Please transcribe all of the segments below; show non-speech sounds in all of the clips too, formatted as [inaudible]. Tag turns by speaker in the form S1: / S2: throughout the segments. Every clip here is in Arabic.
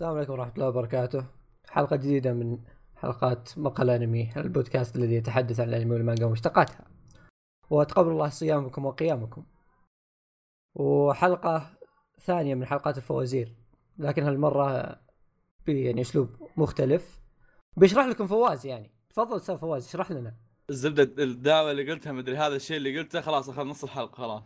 S1: السلام عليكم ورحمة الله وبركاته حلقة جديدة من حلقات مقهى الأنمي البودكاست الذي يتحدث عن الأنمي والمانجا ومشتقاتها وتقبل الله صيامكم وقيامكم وحلقة ثانية من حلقات الفوازير لكن هالمرة ب- يعني أسلوب مختلف بيشرح لكم فواز يعني تفضل استاذ فواز اشرح لنا
S2: الزبده الدعوه اللي قلتها مدري هذا الشيء اللي قلته خلاص اخذ نص الحلقه خلاص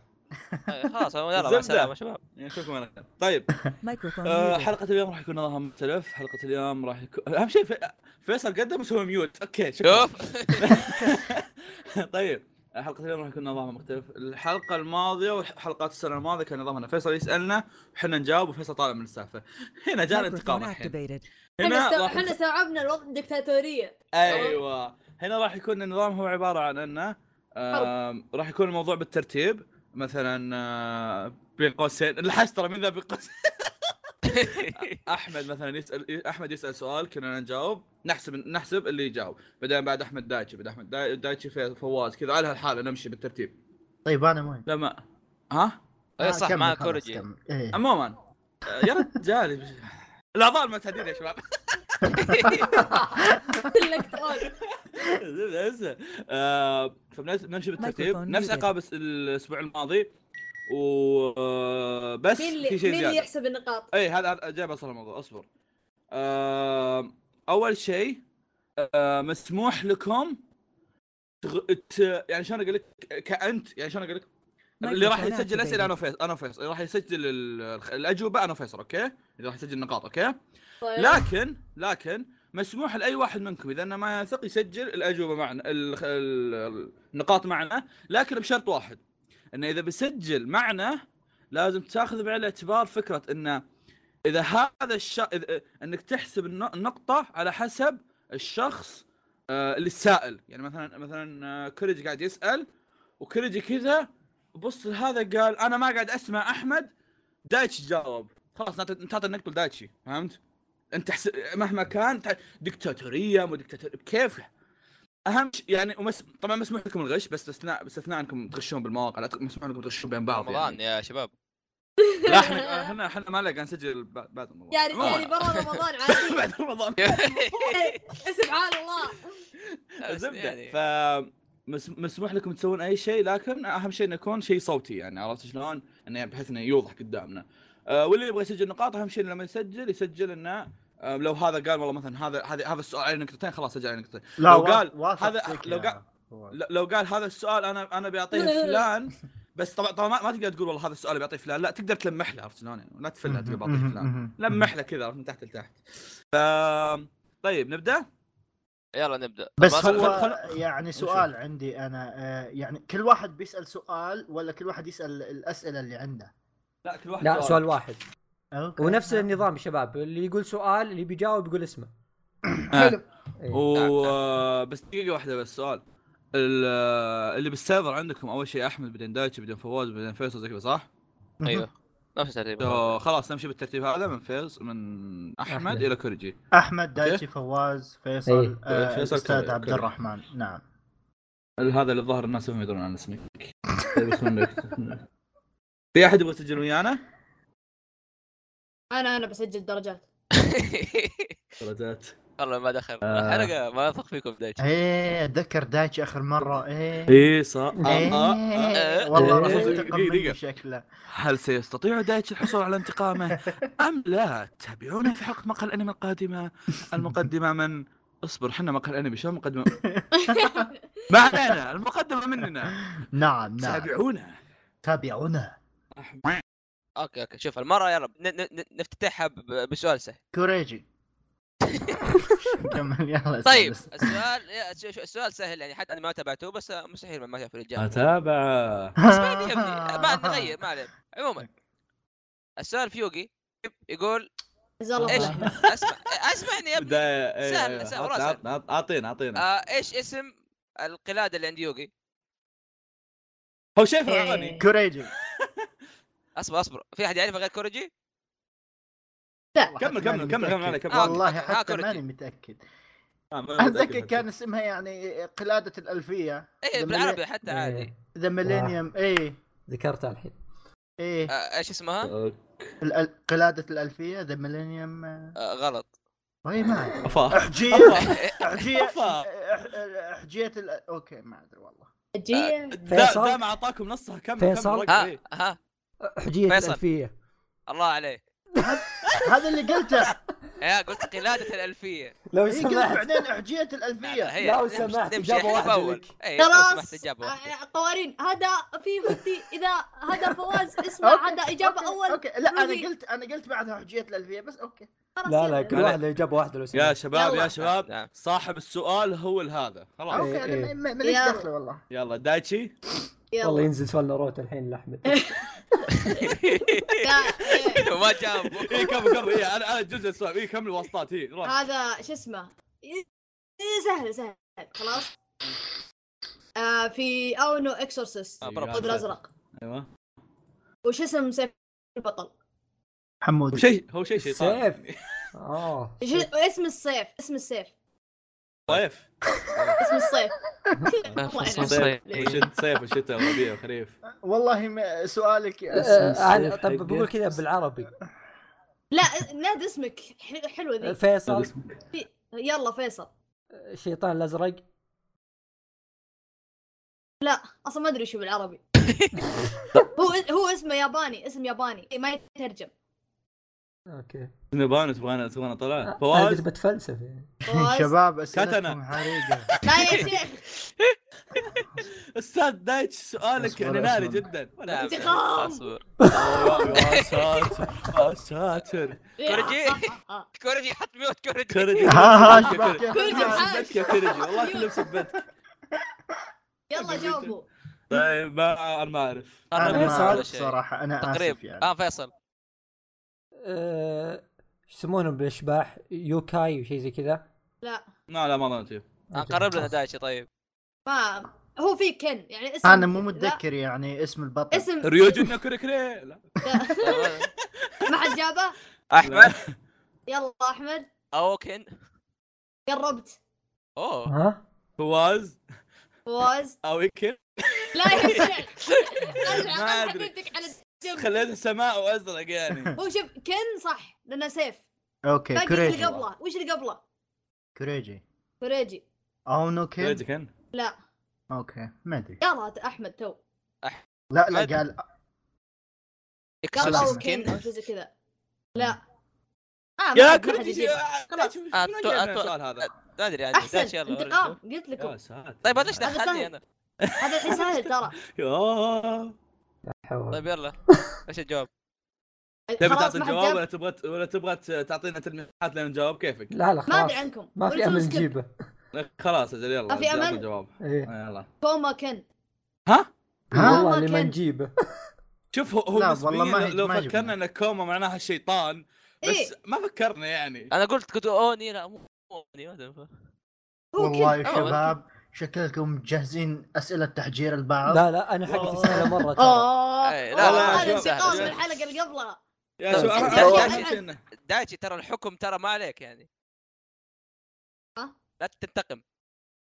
S3: أي إيه، خلاص يلا مع السلامه شباب
S2: يعني نشوفكم على خير طيب
S4: مايكروفون
S2: آه
S4: آه
S2: حلقه اليوم راح يكون نظامها مختلف حلقه اليوم راح يكون اهم شيء في- فيصل قدم وسوى ميوت اوكي شكرا
S5: [laughs]
S3: شوف
S2: [laughs] طيب حلقه اليوم راح يكون نظامها مختلف الحلقه الماضيه وحلقات السنه الماضيه كان نظامنا فيصل يسالنا وحنا نجاوب وفيصل طالع من السالفه هنا جاء الانتقام الحين
S6: احنا
S2: هنا
S6: استو...
S2: راح-
S6: احنا استوعبنا الوضع الدكتاتوريه
S2: ايوه هنا راح يكون النظام هو عباره عن انه آم، راح يكون الموضوع بالترتيب مثلا آه، بين قوسين الحش ترى من ذا بين قوسين [laughs] احمد مثلا يسال احمد يسال سؤال كنا نجاوب نحسب نحسب اللي يجاوب بعدين بعد احمد دايتشي بعد احمد داي- دايتشي في فواز كذا على هالحاله نمشي بالترتيب
S5: طيب انا وين؟
S2: لما ها
S3: [laughs] إيه صح
S5: آه، كمل
S3: مع
S5: خلاص،
S3: كوريجي
S5: كمل. إيه.
S2: عموما آه، يا رجال [laughs] الاعضاء المعتدين يا شباب
S6: سلكت اول
S2: زبدة، زبدة. آه، فبنمشي بالترتيب
S4: مايكروفون
S2: نفس
S4: muted.
S2: عقاب الس- الاسبوع الماضي وبس
S6: مين اللي
S2: في شيء
S6: مين اللي
S2: زياده
S6: يحسب النقاط؟
S2: اي هذا هذا- جاي بوصل الموضوع اصبر آه، اول شيء آه، مسموح لكم تغ... ت... يعني شلون اقول لك كانت يعني شلون اقول لك اللي راح يسجل اسئله انا وفيصل انا وفيصل اللي راح يسجل ال- الخ- الاجوبه انا وفيصل اوكي اللي راح يسجل النقاط اوكي
S6: طيب.
S2: لكن لكن مسموح لاي واحد منكم اذا انه ما يثق يسجل الاجوبه معنا ال- ال- النقاط معنا لكن بشرط واحد انه اذا بيسجل معنا لازم تاخذ بعين الاعتبار فكره انه اذا هذا الش... إذا... انك تحسب الن- النقطه على حسب الشخص آه، اللي السائل يعني مثلا مثلا آه، كوريجي قاعد يسال وكوريجي كذا بص هذا قال انا ما قاعد اسمع احمد دايتشي جاوب خلاص نعطي- نعطي النقطه لدايتشي فهمت؟ انت تحس... مهما كان تح- دكتاتوريه مو دكتاتوريه كيف اهم شيء يعني ومس... طبعا مسموح لكم الغش بس استثناء باستثناء انكم تغشون بالمواقع لا ت- مسموح لكم تغشون بين بعض يعني.
S3: رمضان يا
S5: [laughs]
S3: شباب
S2: لا احنا احنا احنا ما لقى نسجل ب- بعد رمضان
S6: يعني
S2: عموماً.
S6: يعني برا رمضان عادي
S2: [laughs] بعد رمضان
S6: سبحان الله
S2: زبده [laughs]
S5: [laughs]
S3: يعني
S2: ف مس- مسموح لكم تسوون اي شيء لكن اهم شيء انه يكون شيء صوتي يعني عرفت شلون؟ انه بحيث انه يوضح قدامنا. آه واللي يبغى يسجل نقاط اهم شيء إنه لما يسجل يسجل انه آه لو هذا قال والله مثلا هذا هذا هذا السؤال عليه نقطتين خلاص سجل عليه نقطتين.
S5: لا
S2: لو
S5: وا-
S2: قال يعني،
S5: واثق
S2: هذا-
S5: فيك
S2: لو
S5: يا
S2: قال-
S5: فواز.
S2: ل- لو قال هذا السؤال انا انا بعطيه فلان بس طبعا طبعا ما, ما تقدر تقول والله هذا السؤال بيعطيه فلان لا تقدر تلمح له عرفت شلون؟ يعني لا تفله تقول بعطيه
S5: مهم،
S2: فلان.
S5: مهم،
S2: لمح له كذا عرفت من تحت لتحت. ف طيب نبدا؟
S3: يلا نبدا
S5: بس
S3: ما-
S2: خل-
S5: هو
S2: خل-
S5: يعني سؤال عندي انا آه، يعني كل واحد بيسال سؤال ولا كل واحد يسال الاسئله اللي عنده؟
S2: لا كل واحد
S1: لا سؤال واحد
S5: أوكي.
S1: ونفس النظام شباب اللي يقول سؤال اللي بيجاوب يقول اسمه
S5: آه.
S2: حلو.
S1: إيه.
S2: و آه، بس دقيقة واحدة بس سؤال ال- آه، اللي بالسيرفر عندكم اول شيء احمد بعدين دايتشي بعدين فواز بعدين فيصل زي كذا صح؟
S5: مهم.
S3: ايوه نفس الترتيب [laughs]
S2: آه، خلاص نمشي بالترتيب هذا من فيصل من احمد,
S1: أحمد.
S2: الى كوريجي
S5: احمد دايتشي فواز
S1: إيه.
S5: فيصل آه،
S2: فيصل
S5: الاستاذ
S2: كذا-
S5: عبد
S2: كذا.
S5: الرحمن نعم
S2: ال- هذا اللي الظاهر الناس هم يدرون عن اسمك [laughs] بس منك. في احد يبغى يسجل ويانا؟
S6: انا انا بسجل درجات
S2: درجات
S3: والله ما دخل
S2: آه.
S3: حلقه ما اثق فيكم دايتش
S5: ايه اتذكر دايتشي اخر مره ايه
S3: أه،
S2: اي صح آه،
S5: إيه.
S2: آه، آه.
S5: والله
S1: إيه.
S5: رفض
S2: دقيقة،
S5: انتقم
S2: دقيقة.
S5: مني شكله
S2: هل سيستطيع دايتشي الحصول على انتقامه ام لا؟ تابعونا في حلقه مقهى الانمي القادمه المقدمه من اصبر حنا مقهى الانمي شلون مقدمه؟ ما علينا المقدمه مننا
S5: نعم نعم
S2: تابعونا
S5: تابعونا
S3: اوكي اوكي شوف المره يلا ن- ن- ن- نفتتحها ب- بسؤال سهل [laughs]
S5: كوريجي كمل يلا
S3: طيب
S5: سلس.
S3: السؤال يا- ش- ش- السؤال سهل يعني حتى انا ما تابعته بس آه، مستحيل ما شاف الرجال
S2: اتابع
S3: بس ما يبني-
S5: [laughs]
S3: ما نغير ما عليه عموما السؤال في يوغي يقول
S6: زلط
S5: [laughs]
S3: ايش اسمع اسمعني يا ابني
S2: بدايه
S3: سهل، سهل، والله سهل.
S2: اعطينا اعطينا
S3: آه ايش اسم القلاده اللي عند يوغي؟
S2: هو شيء فرعوني
S5: كوريجي
S3: اصبر اصبر في احد يعرفها غير كوريجي؟
S2: كمل كمل كمل كمل عليك، كمل
S3: آه،
S5: والله
S3: آه،
S5: حتى
S3: كوريجي.
S5: ماني متاكد
S2: آه،
S5: اتذكر كان اسمها يعني قلاده الالفيه
S3: ايه
S5: لما
S3: بالعربي حتى عادي
S1: إيه،
S5: ذا ميلينيوم ايه
S1: ذكرتها الحين
S5: ايه
S3: آه ايش اسمها؟
S2: اوكي
S5: الأل- قلاده الالفيه ذا ميلينيوم
S3: آه غلط
S5: طيب ما أدري. [laughs]
S2: افا
S5: احجيه احجيه
S2: أفا.
S5: إح- احجيه ال- اوكي ما ادري والله
S6: جيه
S1: فيصل؟
S2: دام اعطاكم نصها كمل
S1: فيصل؟
S2: كمل رقم
S3: ها
S2: إيه.
S3: ها
S1: حجيه
S3: فيصل.
S1: الالفيه
S3: الله عليك
S5: هذا اللي
S3: [laughs]
S5: قلته
S3: يا قلت قلاده الالفيه
S1: لو
S5: إيه، قلت بعدين احجيه الالفيه
S3: نعم، هي
S1: لو
S3: نمشي-
S1: سمحت،
S3: نمشي
S1: إجابة
S3: إحنا
S1: واحدة
S3: بأول.
S1: لك.
S3: إيه، لو سمحت
S6: خلاص
S3: اجابه واحدة.
S6: آه، قوارين هذا في مفتي اذا هذا فواز اسمه
S5: أوكي،
S6: هذا اجابه
S5: أوكي،
S6: اول
S5: اوكي لا انا
S6: روبي.
S5: قلت انا قلت بعدها احجيه الالفيه بس اوكي
S6: خلاص
S1: لا لا
S6: يلا.
S1: كل
S2: لا.
S1: واحد له اجابه واحده لو
S2: يا
S1: سمحت
S2: شباب يا
S5: يلا.
S2: شباب
S3: نعم. [laughs]
S2: صاحب السؤال هو هذا خلاص
S1: إيه،
S5: اوكي انا
S1: إيه.
S5: ما- ما- ماليش
S6: يلا.
S5: دخله والله
S2: يلا دايتشي
S1: والله
S6: يلا
S1: ينزل سؤال ناروتو الحين لاحمد
S6: لا، إيه.
S3: لو ما جاوبوا
S2: اي كمل كمل اي انا انا إيه، جزء السؤال اي كمل واسطات اي
S6: آه.
S2: روح
S6: هذا شو اسمه إيه، سهل سهل خلاص آه في او نو اكسورسيست
S3: آه، برافو.
S6: الثوب الازرق
S2: ايوه
S6: وش اسم سيف البطل
S5: حمود
S2: شيء هو شيء شيطان
S1: سيف [laughs] اه
S6: إيش اسم السيف اسم السيف
S2: صيف
S1: [laughs]
S6: اسم السيف
S2: صيف وشت صيف وشتاء وربيع وخريف
S5: والله ما سؤالك
S6: أه،
S1: آه،
S5: عن-
S1: عن- طب بقول كذا [laughs] بالعربي أه،
S6: لا نادي اسمك ح- حلوه ذي
S1: فيصل
S6: يلا فيصل
S1: الشيطان الازرق
S6: اصلا ما ادري شو
S5: [laughs]
S6: بالعربي هو هو اسمه ياباني اسم ياباني ما
S5: [laughs]
S6: يترجم
S1: اوكي
S2: نبان تبغانا تبغانا طلع
S1: انا
S2: فواز
S1: قلت بتفلسف يعني.
S6: فواز.
S5: أه،
S2: كتنة.
S5: شباب اسئلتكم حريقه
S6: لا يا
S5: [laughs]
S6: شيخ
S2: استاذ دايتش سؤالك
S5: أصبر،
S2: يعني ناري
S5: أصبر.
S2: جدا
S3: نعم،
S6: انتقام.
S3: أصبر.
S2: يا ساتر يا ساتر
S3: كورجي.
S6: آه.
S3: كورجي حط ميوت كورجي
S2: [laughs] كرجي
S5: ها،
S2: كرجي،
S5: ها،
S2: كرجي.
S6: كورجي
S2: كلهم
S6: حاج.
S2: سبتك يا كرجي والله كلهم سبتك
S6: يلا جاوبوا
S2: طيب ما انا ما اعرف
S5: انا
S1: أنا
S5: ما
S1: فيصل.
S5: اعرف صراحه انا اسف
S3: تقريب
S5: يعني
S3: اه فيصل
S1: أه، ايش يسمونهم بالاشباح يوكاي وشي زي كذا
S6: لا
S2: لا لا ما ظننت فيه.
S3: آه،
S1: أوكي.
S3: قرب لنا دايشي طيب
S6: ما هو في كن يعني اسم
S5: انا مو
S6: لا،
S5: متذكر يعني اسم البطل
S6: اسم
S2: ريوجي إنه كوري كوري لا.
S6: [laughs] ما حد جابه
S3: احمد
S6: يلا احمد
S3: اوكن
S6: قربت
S3: اوه
S1: ها
S2: فواز
S6: فواز
S2: او ايكل
S6: لا يا
S2: [laughs]
S6: شيخ ارجع
S2: ما
S6: خل
S2: أدري.
S6: حديدك على الجنب.
S2: خليته سماء وازرق [laughs] يعني
S6: هو شوف كن صح لانه سيف
S1: إيه،
S5: اوكي
S6: باقي اللي
S5: كوريجي
S6: قبله وش اللي قبله؟
S5: كوريجي
S6: كوريجي
S5: او نو كيد
S2: ريوجي كان
S6: لا
S5: اوكي ما ادري
S6: يلا احمد تو
S5: لا لا
S3: أدري.
S5: قال
S6: قال
S5: خلاص.
S6: او
S3: إكسورسيست
S6: كن
S3: كن.
S6: او شيء زي كذا لا آه ما
S2: يا
S6: حد- ما حد
S2: كوريجي
S6: يجيبها. خلاص. أه،
S2: من
S3: أتو-
S2: أجلنا
S3: أتو-
S2: السؤال هذا
S3: ما ادري يعني دايتشي
S6: احسن
S3: يلا
S6: انتقام
S3: ورجل.
S6: قلت
S2: يا
S6: لكم
S2: ساتر
S3: طيب هذا ايش
S6: هذا
S3: دخلني
S6: سهل.
S3: انا
S6: هذا الحين سهل ترى
S2: يا
S1: حول.
S3: طيب يلا ايش الجواب
S2: [laughs] تبي
S6: خلاص
S2: تعطي
S6: ما حد
S2: الجواب ولا
S6: جاب
S2: تبغى ولا تبغى ت- تعطينا تلميحات لين نجاوب كيفك
S1: لا لا
S6: ما
S1: خلاص
S6: ادري عنكم
S1: ما في
S6: قلتوا
S1: امل
S6: سكيب.
S1: نجيبه
S2: خلاص اجل يلا
S6: ما أه، في
S2: جاوب
S6: أمل؟
S2: الجواب
S1: [laughs] ايه
S5: إيه.
S2: يلا
S6: كوما كن
S2: ها
S5: ها
S1: والله
S6: ما
S1: لما
S6: كان.
S1: نجيبه
S2: شوف هو هو
S5: لا،
S2: نسبياً
S5: والله ما-
S2: لو
S5: ما يجيبون.
S2: فكرنا ان كوما معناها شيطان بس
S6: ايه
S2: ما فكرنا يعني
S3: انا قلت كنت اوني لا مو اوني ما ادري
S6: هو
S5: والله
S6: كن
S5: يا
S3: آه،
S5: شباب شكلكم مجهزين اسئله تحجير البعض
S1: لا لا انا حقتي
S2: والله.
S1: سهله مره ترى.
S6: اوه
S3: إيه،
S2: لا، لا،
S6: والله
S2: لا،
S6: آه. هذا
S2: شوف،
S6: انتقام
S2: شوف.
S6: من الحلقه اللي قبلها
S2: يا شو أه،
S3: أنت-
S2: أنا-
S3: يا
S2: أنا-
S3: أخي-
S2: أنا-
S3: دايتشي ترى الحكم ترى ما عليك يعني
S6: ها؟
S3: لا تنتقم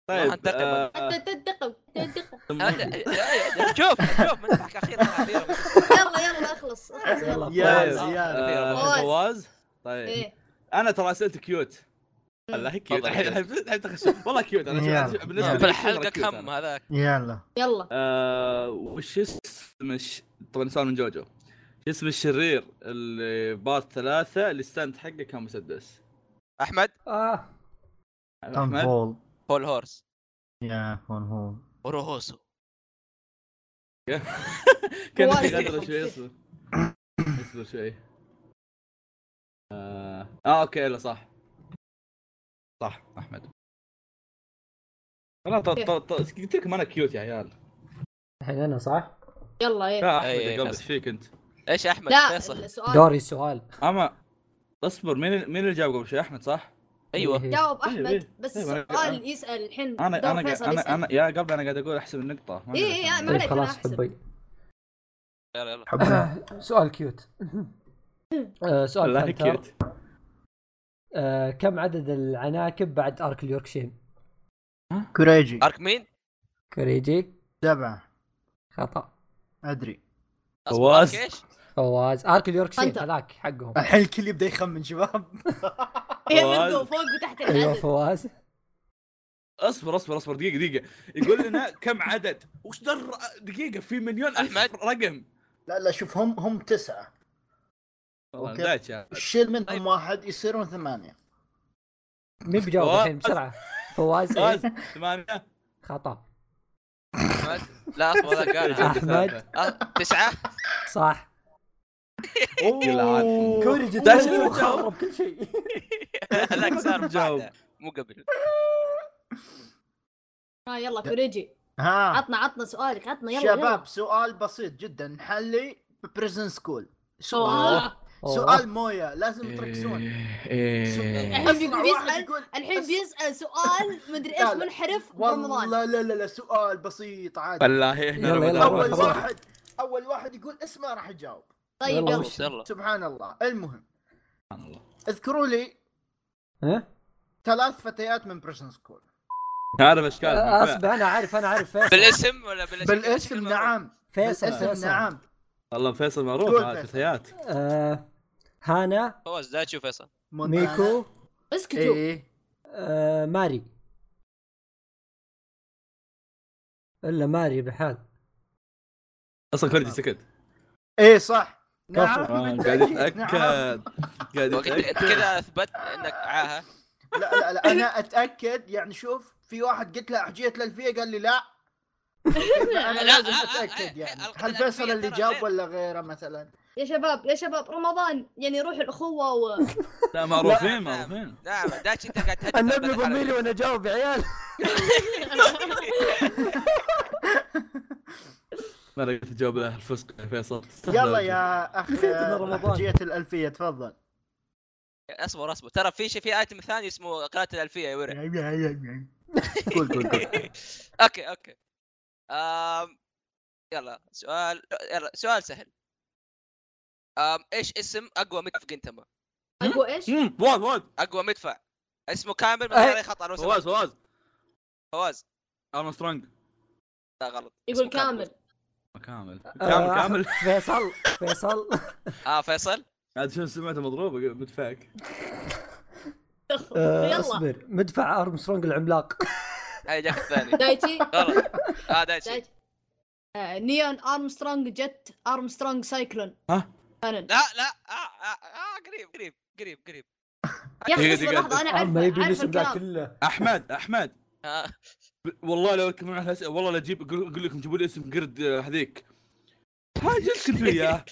S2: طيب
S3: ما هنتقم.
S2: آه، آه،
S6: انت تنتقم تنتقم
S3: أنت- شوف شوف نضحك اخيرا أخيراً.
S6: يلا يلا اخلص اخلص
S1: يلا.
S6: يلا
S2: طيب.
S5: يا
S2: آه،
S5: زياد
S6: فواز.
S2: فواز طيب
S6: ايه
S2: انا ترى اسئلتي كيوت لا هي كيوت
S3: تفضل.
S2: الحين الحين- الحين تخش والله كيوت انا
S5: يلا.
S2: أنا- بالنسبه
S5: يلا.
S2: لي
S3: في الحلقه
S2: ترى كيوت
S3: كم
S2: أنا.
S3: هذاك
S5: يلا
S6: يلا
S2: آه، وش اسم الش... طبعا سؤال من جوجو شو اسم الشرير اللي بارت ثلاثة اللي ستاند حقه كان مسدس
S3: احمد
S1: اه
S5: توم
S2: احمد
S5: فول
S3: بول هورس
S5: يا فون هول
S3: [laughs] وروهوسو
S2: كان
S6: فواز.
S2: في ادرى شوي اصبر اصبر شوي آه... اه اوكي لا صح صح احمد انا ط... ط... ط... قلت لكم انا كيوت يا عيال
S1: الحين انا صح؟
S6: يلا ايه
S2: لا احمد
S3: إيه،
S2: قبل
S3: فيصل.
S2: ايش فيك انت
S3: ايش احمد
S6: لا
S3: فيصل
S6: السؤال
S1: دوري السؤال
S2: اما اصبر مين مين اللي جاوب قبل شوي احمد صح؟
S3: ايوه
S1: إيه.
S6: جاوب
S5: أيوة،
S2: إيه، إيه.
S6: احمد بس
S2: إيه، ما أنا-
S6: السؤال يسال الحين
S2: انا
S6: دور
S2: انا
S6: فيصل
S2: انا
S6: يسأل.
S2: انا يا قبل انا قاعد اقول احسب النقطة ما أدري
S6: إيه، إيه،
S2: عشان-
S6: ما عليك،
S1: طيب
S6: أنا
S1: خلاص
S6: أحسب.
S1: حبي
S3: يلا يلا
S5: حبنا
S1: سؤال [laughs] كيوت آه، سؤال
S2: والله
S1: فانتر.
S2: كيوت
S1: آه، كم عدد العناكب بعد ارك اليوركشين؟
S5: كوريجي
S3: ارك مين؟
S1: كوريجي
S5: سبعه
S1: خطا
S5: ادري
S3: أصبر،
S2: فواز.
S3: أرك إيش؟
S1: فواز ارك اليوركشير
S6: Hunter.
S1: هذاك [laughs] حقهم
S5: الحين الكل يبدا يخمن شباب
S6: هي
S2: فواز.
S6: منه فوق وتحت
S1: ايوه
S6: العدد
S1: فواز
S2: اصبر اصبر اصبر دقيقه دقيقه يقول لنا كم عدد وش در دقيقه في مليون ألف
S3: أحمد.
S2: رقم
S5: [laughs] لا لا شوف هم هم تسعه
S2: والله
S5: أوكي.
S2: دايتش هذا.
S5: شيل
S3: طيب.
S5: منهم واحد يصيرون ثمانيه
S1: مين بيجاوب
S2: فواز.
S1: الحين بسرعه فواز
S2: فاز
S1: إيه؟
S2: ثمانيه
S1: خطا
S3: أحمد؟ لا اصبر ذاك قال
S1: احمد
S3: أه، [laughs] تسعه
S1: صح
S2: يلعن.
S5: كوري جدا
S2: داش اللي بيجاوب.
S1: خرب كل شيء
S3: هذاك صار
S2: جاوب.
S3: بعده، مو قبل
S6: آه يلا كوريجي
S5: ها
S6: عطنا عطنا سؤالك عطنا يلا
S5: شباب سؤال بسيط جدا نحلي بريزن سكول سؤال
S6: يلا.
S1: أوه.
S5: سؤال مويه لازم تركزون
S2: إيه.
S6: الحين بيقول-
S5: أسرع واحد يقول-
S6: الحين
S5: أس-
S6: بيسأل سؤال مدري
S5: لا،
S6: ايش
S5: لا.
S6: منحرف
S5: والله
S6: برمضان
S5: لا لا لا سؤال بسيط عادي
S2: والله احنا
S1: يلا، يلا،
S2: رمضان.
S1: روح،
S5: اول
S1: روح.
S5: واحد اول واحد يقول اسمه راح يجاوب
S6: طيب
S1: يلا.
S6: يلا
S3: خلاص، يلا
S5: سبحان الله المهم
S2: سبحان الله.
S5: اذكروا لي
S1: ها؟
S5: ثلاث فتيات من بريزن سكول
S2: هذا مشكلة
S1: اصبر انا عارف انا
S2: [laughs]
S1: عارف فيصل
S3: بالاسم ولا بالاسم
S5: بالاسم نعم
S1: فيصل
S5: بالاسم
S1: فيصل
S5: نعم
S2: والله فيصل معروف
S5: قول
S2: هذا
S5: فيصل.
S2: فتيات
S1: آه، هانا
S3: فواز لا تشوف فيصل
S5: مونتانا.
S1: ميكو
S6: اسكتوا
S5: ايه
S1: آه، ماري الا ماري بحال
S2: اصلا كوريجي سكت
S5: ايه صح
S1: كفو.
S5: نعم
S2: آه، قاعد
S5: [laughs] بالتأكيد، نعم.
S2: يتاكد قاعد
S3: وقت-
S2: يتاكد
S3: كذا آه، اثبت انك عاها
S5: لا لا لا انا اتاكد يعني شوف في واحد قلت له احجيه الالفيه قال
S3: [laughs]
S5: لي لا انا
S3: لا،
S5: لازم
S3: آه، آه،
S5: اتاكد
S3: آه،
S5: يعني
S3: آه،
S5: هل
S3: الألفية
S5: فيصل اللي
S3: ترى
S5: جاب
S3: غير.
S5: ولا غيره [laughs] مثلا
S6: يا شباب يا شباب رمضان يعني روح
S1: [laughs]
S6: الاخوه و...
S2: لا معروفين
S3: نعم.
S2: معروفين
S3: نعم داش انت قاعد تهدد
S1: النبي
S3: الحلقة.
S1: بميلي وانا جاوب يا عيال
S2: ما لقيت تجاوب له الفسق يا فيصل
S5: يلا يا اخ
S1: من رمضان.
S5: احجيه الالفيه [laughs] تفضل
S3: اصبر اصبر ترى في شيء في ايتم ثاني اسمه قناه الالفيه يا ورع
S1: نعم.
S3: [laughs]
S5: قول قول قول
S3: اوكي اوكي آم يلا سؤال يلا سؤال سهل آم ايش اسم اقوى مدفع في جنتما؟
S6: اقوى ايش؟
S2: مم، فواز فواز
S3: اقوى مدفع اسمه كامل من
S1: أي-
S3: غير أي خطا لو سمحت.
S2: فواز فواز
S3: فواز
S2: ارمسترونج
S3: لا غلط
S6: يقول
S3: اسمه
S6: كامل
S2: كامل
S1: آه،
S2: كامل كامل
S1: [laughs] فيصل فيصل
S3: اه فيصل
S2: عاد شنو سمعته مضروبه مدفعك
S1: [laughs] آه،
S6: يلا
S1: اصبر مدفع ارمسترونج العملاق
S3: هاي جاك
S6: [laughs]
S3: الثاني
S1: [laughs]
S6: دايتي
S3: غلط اه دايتشي
S6: دايتي آه، نيون ارمسترونج جت ارمسترونج سايكلون
S2: ها؟
S6: كانون
S3: لا لا اه اه اه قريب قريب قريب قريب
S6: يا
S2: دقيقة،
S6: اخي اصبر
S2: دقيقة.
S6: لحظه انا عارف
S1: اما يبي
S6: عارف
S1: الاسم ذا
S6: الكلام
S1: كله
S2: احمد احمد
S3: آه.
S2: ب- والله لو تكملون على الاسئله والله لا اجيب اقول أقول لكم جيبوا لي اسم قرد آه، هذيك ها جبت كنت
S3: [laughs]
S2: اياه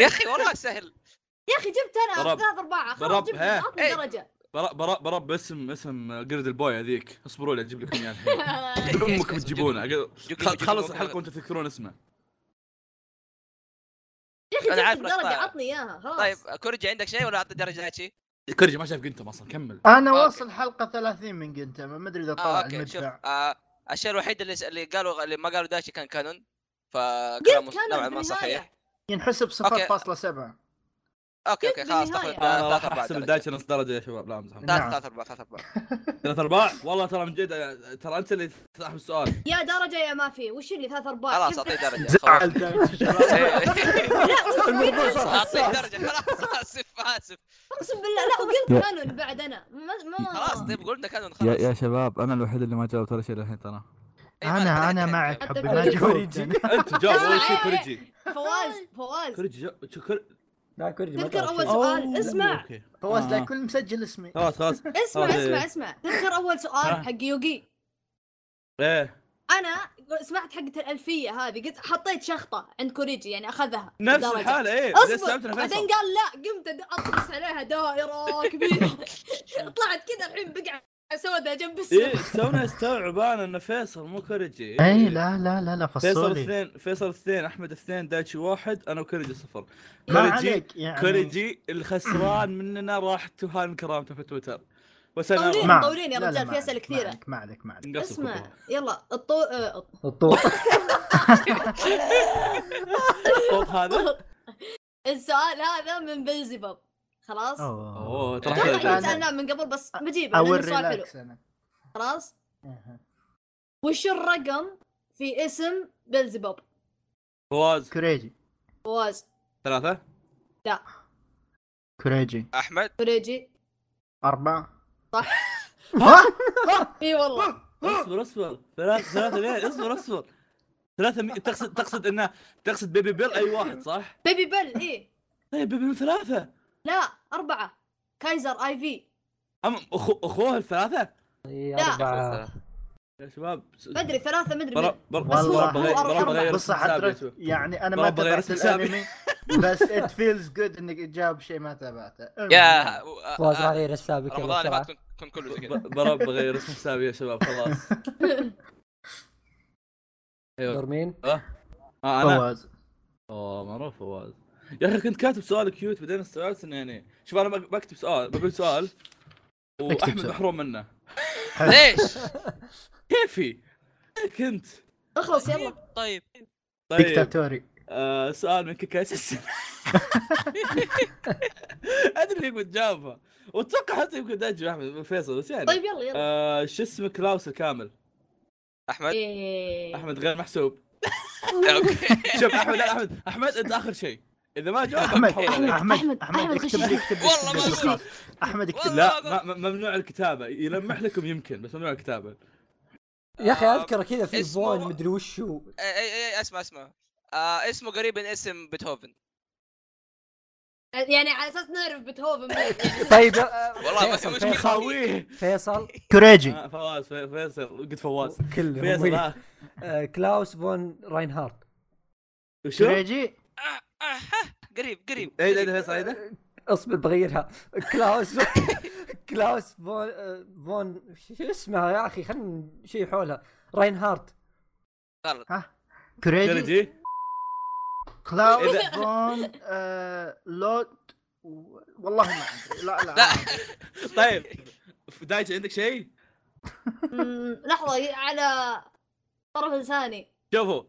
S3: يا اخي والله [laughs] سهل
S6: يا اخي جبت انا
S2: برب.
S6: ثلاث ارباع خلاص
S2: برب،
S6: جبت
S2: ها.
S6: عطني
S3: إيه. [laughs]
S6: درجه
S2: برا برا برا باسم اسم آه، قرد البوي هذيك اصبروا لي اجيب لكم اياه
S3: [laughs]
S2: الحين. امكم تجيبونه
S3: جيب-
S2: خل-
S3: جيب-
S2: تخلص
S3: جيب-
S2: الحلقه وانتم تذكرون اسمه
S6: يا اخي
S3: أنا عارف
S6: جبت الدرجه
S3: الأقطاع.
S6: عطني اياها خلاص
S3: طيب كورجي عندك شيء ولا اعطي درجه دايتشي؟
S2: كرجي ما شاف قنتم اصلا كمل
S5: انا
S3: أوكي.
S5: واصل حلقه 30 من قنتما ما ادري اذا
S3: اه
S5: طلع
S3: اوكي شوف
S5: المدفع
S3: آه الشيء الوحيد اللي اللي قالوا اللي ما قالوا دايتشي كان كانون فكلامه
S6: قلت كانون
S3: نوعا
S6: في
S3: ما
S6: النهاية.
S3: صحيح
S5: ينحسب 0.7
S3: اوكي
S6: قلت
S3: اوكي خلاص
S6: بالنهاية.
S3: تاخذ
S2: انا آه، راح
S3: ثلاث ارباع
S2: احسب
S3: درجة.
S2: الدايتش نص درجه يا شباب لا امزح
S5: نعم.
S3: ثلاث ثلاث ارباع ثلاث ارباع
S6: آه،
S2: ثلاث ارباع والله ترى من جد آه، ترى انت اللي تسحب السؤال
S6: يا درجه يا ما في وش اللي ثلاث ارباع
S3: خلاص
S6: كيف
S3: اعطيه
S6: [laughs]
S3: درجه خلاص.
S5: زعل
S3: [laughs]
S5: دايتش [laughs] شباب.
S3: طيب.
S1: الموضوع صار
S3: اعطيه
S1: حساس
S3: درجه
S6: [laughs]
S3: خلاص اسف اسف
S6: اقسم بالله لا وقلت كانون بعد انا ما ما
S3: [laughs] خلاص طيب قلنا كانون
S4: يا
S3: خلاص
S4: يا شباب انا الوحيد اللي ما جاوبت ولا شيء للحين ترى
S3: إيه، ما- ما
S5: انا انا
S3: قلت
S5: معك
S3: كان-
S5: حبي
S6: أنت
S5: ما
S6: كوري
S5: جاوبت
S1: جي.
S5: أنا.
S2: انت جاوب اول شيء
S6: [laughs] إيه، إيه.
S2: كرجي
S6: فواز فواز
S2: كرجي جا- شو كر-
S1: لا كوريجي ما
S6: تذكر
S1: جاوب
S6: أول
S1: شيء.
S6: سؤال،
S2: أوه،
S6: اسمع.
S2: أوكي.
S5: [laughs] فواز لا
S2: آه.
S5: يكون مسجل اسمي
S2: خلاص خلاص
S6: اسمع
S2: أوكي.
S6: اسمع اسمع تذكر اول
S2: طيب. ها.
S6: سؤال حق يوغي
S2: ايه
S6: انا سمعت حقة الالفيه هذه قلت حطيت شخطه عند كوريجي يعني اخذها
S2: نفس
S6: درجة.
S2: الحاله ايه لسه
S6: اصبر
S2: أمتنا
S6: بعدين
S2: فيصل
S6: قال لا قمت أد- اطرس عليها دائره كبيره طلعت كذا الحين بقعه سوداء جنب
S2: ايه
S6: السوق
S2: تونا استوعب انا ان فيصل مو كرجي
S5: اي إيه، لا لا لا لا
S2: فيصل
S5: فصولي
S2: اثنين فيصل اثنين احمد اثنين دايتشي واحد انا وكرجي صفر
S5: ما
S2: كوريجي-
S5: عليك يعني
S2: كوريجي الخسران مننا راح تهان كرامته في تويتر بس انا
S6: طولين.
S5: ما-
S6: مطولين يا
S5: لا، لا،
S6: رجال، في
S5: ما عليك،
S6: أسئلة
S5: ما
S6: كثيرة.
S5: عليك، ما عليك ما عليك
S2: نقص
S6: طيب. اسمع
S2: الكوكو.
S6: يلا الطو آه، الط-
S1: [laughs] الطوط
S2: الصوت
S6: طيب.
S2: هذا
S6: السؤال هذا من بلزبب خلاص
S5: اوه
S2: اوه ترى
S6: اتوقع
S5: أوكي.
S6: إني
S2: حلو.
S6: سالناه من قبل بس بجيبه
S5: او
S6: لأنه سؤال حلو
S5: الريلاكس انا
S6: خلاص
S5: أها.
S6: وش الرقم في اسم بلزبب
S2: فواز
S5: كريجي
S6: فواز
S2: ثلاثة
S5: كوريجي
S3: احمد
S6: كوريجي
S5: أربعة [laughs]
S6: اي والله
S2: اصبر اصبر ثلاثة ثلاثة ليه اصبر اصبر ثلاثة مي... تقصد تقصد انه تقصد بيبي بيل اي واحد صح؟
S6: بيبي بل اي
S2: طيب بيبي بيل ثلاثة
S6: لا أربعة كايزر اي في
S2: أم أخو... اخوه الثلاثة
S1: إي،
S6: لا.
S1: اربعة
S2: يا شباب
S6: مدري ثلاثة مدري
S2: برا
S6: من.
S2: برا
S6: بس هو-
S2: برا
S6: هو
S2: بغير برا
S6: أربعة.
S2: بغير
S5: بص
S2: حسابي يا
S5: حضرتك
S2: شباب.
S5: يعني أنا
S2: ما
S5: ما
S2: أبغى غير
S5: تابعت
S2: حسابي.
S5: الأنمي بس it feels good إنك جاب شيء ما تابعته
S3: يا
S5: المهم.
S3: آه،
S1: فواز
S3: آه،
S1: غير السابق يلا
S3: رمضان اللي
S1: بسرعة.
S3: فات كنت- كنت كله زي
S2: [laughs]
S6: [laughs]
S3: كذا
S2: ب- برا بغير اسم حسابي يا شباب خلاص
S5: [laughs]
S1: دور
S2: ايوه
S1: مين؟
S2: آه انا
S5: فواز
S2: اوه معروف فواز يا اخي كنت كاتب سؤال كيوت بعدين استوعبت انه يعني شوف انا بك- بكتب سؤال بقول سؤال
S5: اكتب
S2: واحمد
S5: سؤال.
S2: محروم منه
S3: ليش؟
S2: كيفي إيه، كنت
S3: [laughs]
S6: اخلص يلا
S3: طيب
S2: طيب
S5: ديكتاتوري
S2: آه سؤال من كيكايس السنة [laughs] ادري انك بتجاوبها واتوقع حتى يمكن تجي احمد من فيصل بس يعني
S6: طيب يلا يلا
S2: آه شو اسم كلاوس الكامل
S3: احمد
S6: إيه.
S2: احمد غير محسوب
S3: اوكي
S2: شوف احمد لا احمد احمد انت اخر شيء اذا ما جاوب
S5: أحمد
S2: بحول عليك.
S6: أحمد، أحمد،
S5: أحمد أحمد
S6: أحمد،
S5: اكتب
S6: خش.
S5: اكتب
S3: والله ما
S5: اكتب
S3: أدري.
S5: خلاص. أحمد اكتب
S3: والله.
S2: لا ما- ما- ممنوع الكتابه يلمح لكم يمكن بس ممنوع الكتابه
S1: يا اخي
S3: آه،
S1: اذكره كذا في
S3: اسمه-
S1: فون مدري وش هو
S3: [laughs] اي اي اي اسمع اسمع آه اسمه قريب من اسم بيتهوفن
S6: يعني على اساس نعرف بيتهوفن مين
S1: [laughs]
S6: يعني.
S1: طيب آه،
S3: والله بس
S1: فيصل
S3: مشكلة.
S1: فيصل
S2: خاويه
S1: فيصل
S5: كوريجي
S2: آه، فواز في- فيصل قلت فواز فيصل
S1: كله
S2: آه.
S1: آه، كلاوس فون راينهارد
S2: وشو؟ ايه
S5: كوريجي
S3: آه، آه، ها، قريب قريب
S2: ايه ده فيصل ايه ده؟
S1: اصبر بغيرها كلاوس [laughs] كلاوس فون آه، فون شو اسمها يا اخي خلنا شيء حولها راينهارد
S3: غلط
S5: كوريجي
S2: كوريجي
S5: كلاود
S2: إذا-
S5: فون آه، لوت و- والله ما ادري لا لا
S3: لا
S2: طيب دايتش عندك شيء؟
S6: أمم، لحظة على طرف لساني
S2: شوفوا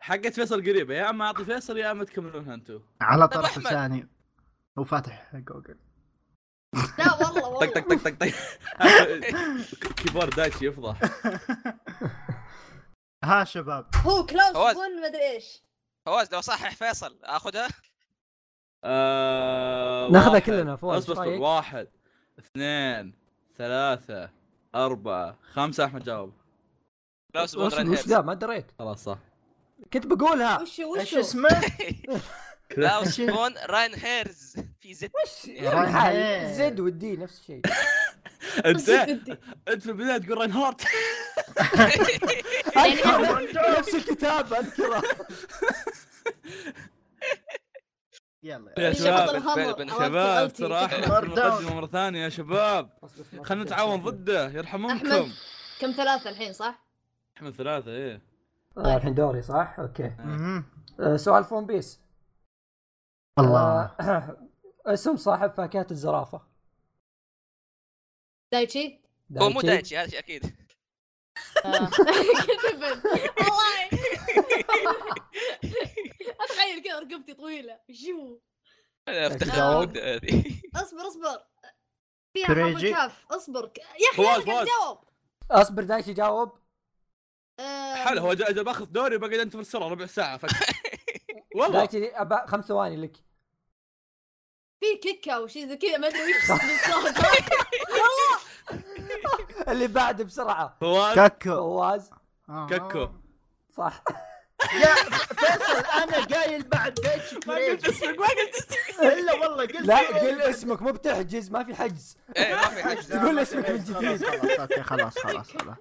S2: حقت فيصل قريبه يا اما اعطي فيصل يا اما تكملونها انتم
S5: على
S3: طب
S5: طرف
S3: أحمد.
S5: لساني هو فاتح جوجل
S6: لا والله
S2: طق طق
S6: والله
S2: طق طق طق [laughs] كيبورد دايتش يفضح
S5: ها شباب
S6: هو كلاوس
S3: فواز.
S6: فون ما ادري ايش
S3: فواز لو صحح فيصل اخذها
S2: آه،
S1: ناخذها
S2: واحد.
S1: كلنا فواز،
S2: اصبر
S1: إيش
S2: اصبر
S1: رأيك؟
S2: واحد اثنين ثلاثة أربعة خمسة أحمد جاوب
S3: لو اسمه
S1: أصبر،
S3: غرين
S1: وش
S3: هيرز
S1: ذا ما دريت
S2: خلاص صح
S1: كنت بقولها
S6: وش هو
S5: ايش
S6: وش هو؟ [laughs]
S5: اسمه؟
S3: لو اسمون راين هيرز في زد
S1: وش يا الحال [laughs] زد والدي نفس الشيء
S2: أنت أنت في البداية تقول راين
S6: [laughs]
S2: هارت
S3: يعني
S1: [laughs]
S5: [laughs]
S1: نفس الكتاب اذكره [laughs]
S5: يلا
S2: يا
S6: اللي يحط
S2: شباب
S6: الهمر.
S3: بن- بن-
S6: عرفت؟
S2: شباب
S6: قلتي.
S2: ترى أحمد في المقدمة مرة ثانية يا شباب خلينا نتعاون ضده يرحمونكم
S6: أحمد. كم ثلاثة الحين صح؟
S2: أحمد ثلاثة إيه
S1: آه، الحين دوري صح اوكي
S5: مهم.
S1: آه، سؤال فون بيس
S5: الله
S1: آه، [coughs] اسم صاحب فاكهة الزرافة
S6: دايتشي؟
S3: هو مو دايتشي هذا شيء اكيد
S6: آه. [laughs] كتبت. والله [laughs] اتخيل كذا رقبتي طويله شو
S3: أنا أفتكر
S1: جاوب.
S3: المدة [laughs] هذه.
S6: اصبر اصبر فيها حرف
S5: كريجي.
S6: الكاف اصبر ك- يا اخي
S2: فواز،
S6: انا قاعد
S2: فواز.
S6: اجاوب
S1: اصبر دايتشي جاوب
S6: آه،
S2: حلو هو جا- جا باخذ دوري بقعد أنت في السرعة ربع ساعة
S6: [laughs]
S2: فك والله
S1: دايتشي أبا خمس ثواني لك
S3: [laughs]
S6: في كيكه او شيء زي كذا ما ادري
S5: [laughs]
S6: وش بالصوت.
S1: اللي بعد بسرعة
S2: فواز
S5: كاكو
S1: فواز
S5: آه.
S2: كاكو
S3: [laughs]
S1: صح
S5: يا فيصل انا قايل بعد دايتشي كوريجي
S2: اسمك ما قلت
S5: الا والله قلت
S1: لا قل اسمك مو بتحجز ما في حجز
S3: إيه، ما
S5: [laughs]
S3: في حاجة.
S1: تقول اسمك من جديد.
S5: خلاص اوكي [laughs] خلاص
S1: [laughs]
S5: خلاص خلاص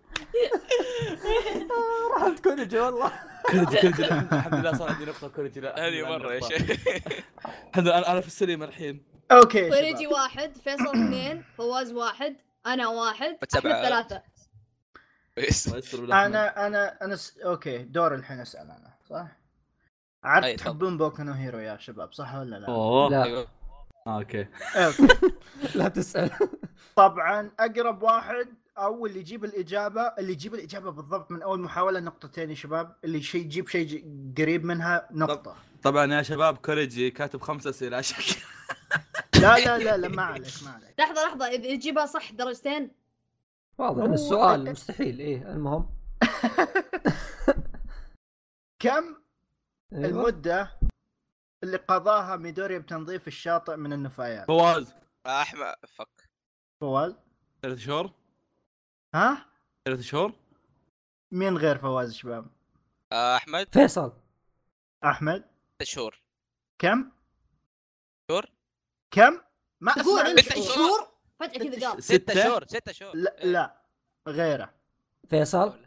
S1: راح تكون جي والله
S2: كوريجي كوريجي لا، [laughs] الحمد لله صار عندي نقطة كوريجي لا الحمد
S3: هذه
S2: لله
S3: مره يا
S2: عندي نقطة.
S3: شيخ [laughs]
S2: الحمد لله أنا في السليم الحين
S5: اوكي
S6: كوريجي
S5: شباب.
S6: طيب، واحد
S5: [clears throat]
S6: فيصل اثنين فواز واحد انا واحد
S3: سبعة.
S6: احمد ثلاثه
S3: كويس.
S5: انا انا انا س... اوكي دور الحين اسال انا صح؟ عارف
S3: أي، تفضل.
S5: تحبون بوكو نو هيرو يا شباب صح ولا لا؟
S2: اوه
S1: لا
S3: أيوه.
S2: آه، اوكي
S5: أوكي.
S1: لا تسأل
S5: طبعا اقرب واحد او اللي يجيب الاجابه اللي يجيب الاجابه بالضبط من اول محاوله نقطتين يا شباب اللي شيء يجيب شيء ج- قريب منها نقطه
S2: طبعا يا شباب كوريجي كاتب خمس اسئله عشان
S5: لا لا لا لا ما عليك ما عليك
S6: لحظه لحظه اذا يجيبها صح درجتين
S1: واضح ان السؤال مستحيل ايه المهم
S5: كم أيوه.
S1: أيوة.
S5: المده اللي قضاها ميدوريا بتنظيف الشاطئ من النفايات
S2: فواز
S3: احمد فك
S5: فواز
S2: ثلاث شهور
S5: ها
S2: ثلاث شهور
S6: اه،
S5: مين غير فواز شباب
S3: آه، احمد
S1: فيصل
S5: احمد
S3: ست شهور
S5: كم
S3: شهور
S5: كم ما
S6: تقول
S5: اسمع
S6: انت
S3: ست شهور.
S6: شهور فجاه كذا قال
S3: ستة شهور ستة شهور
S5: لا لا غيره
S1: فيصل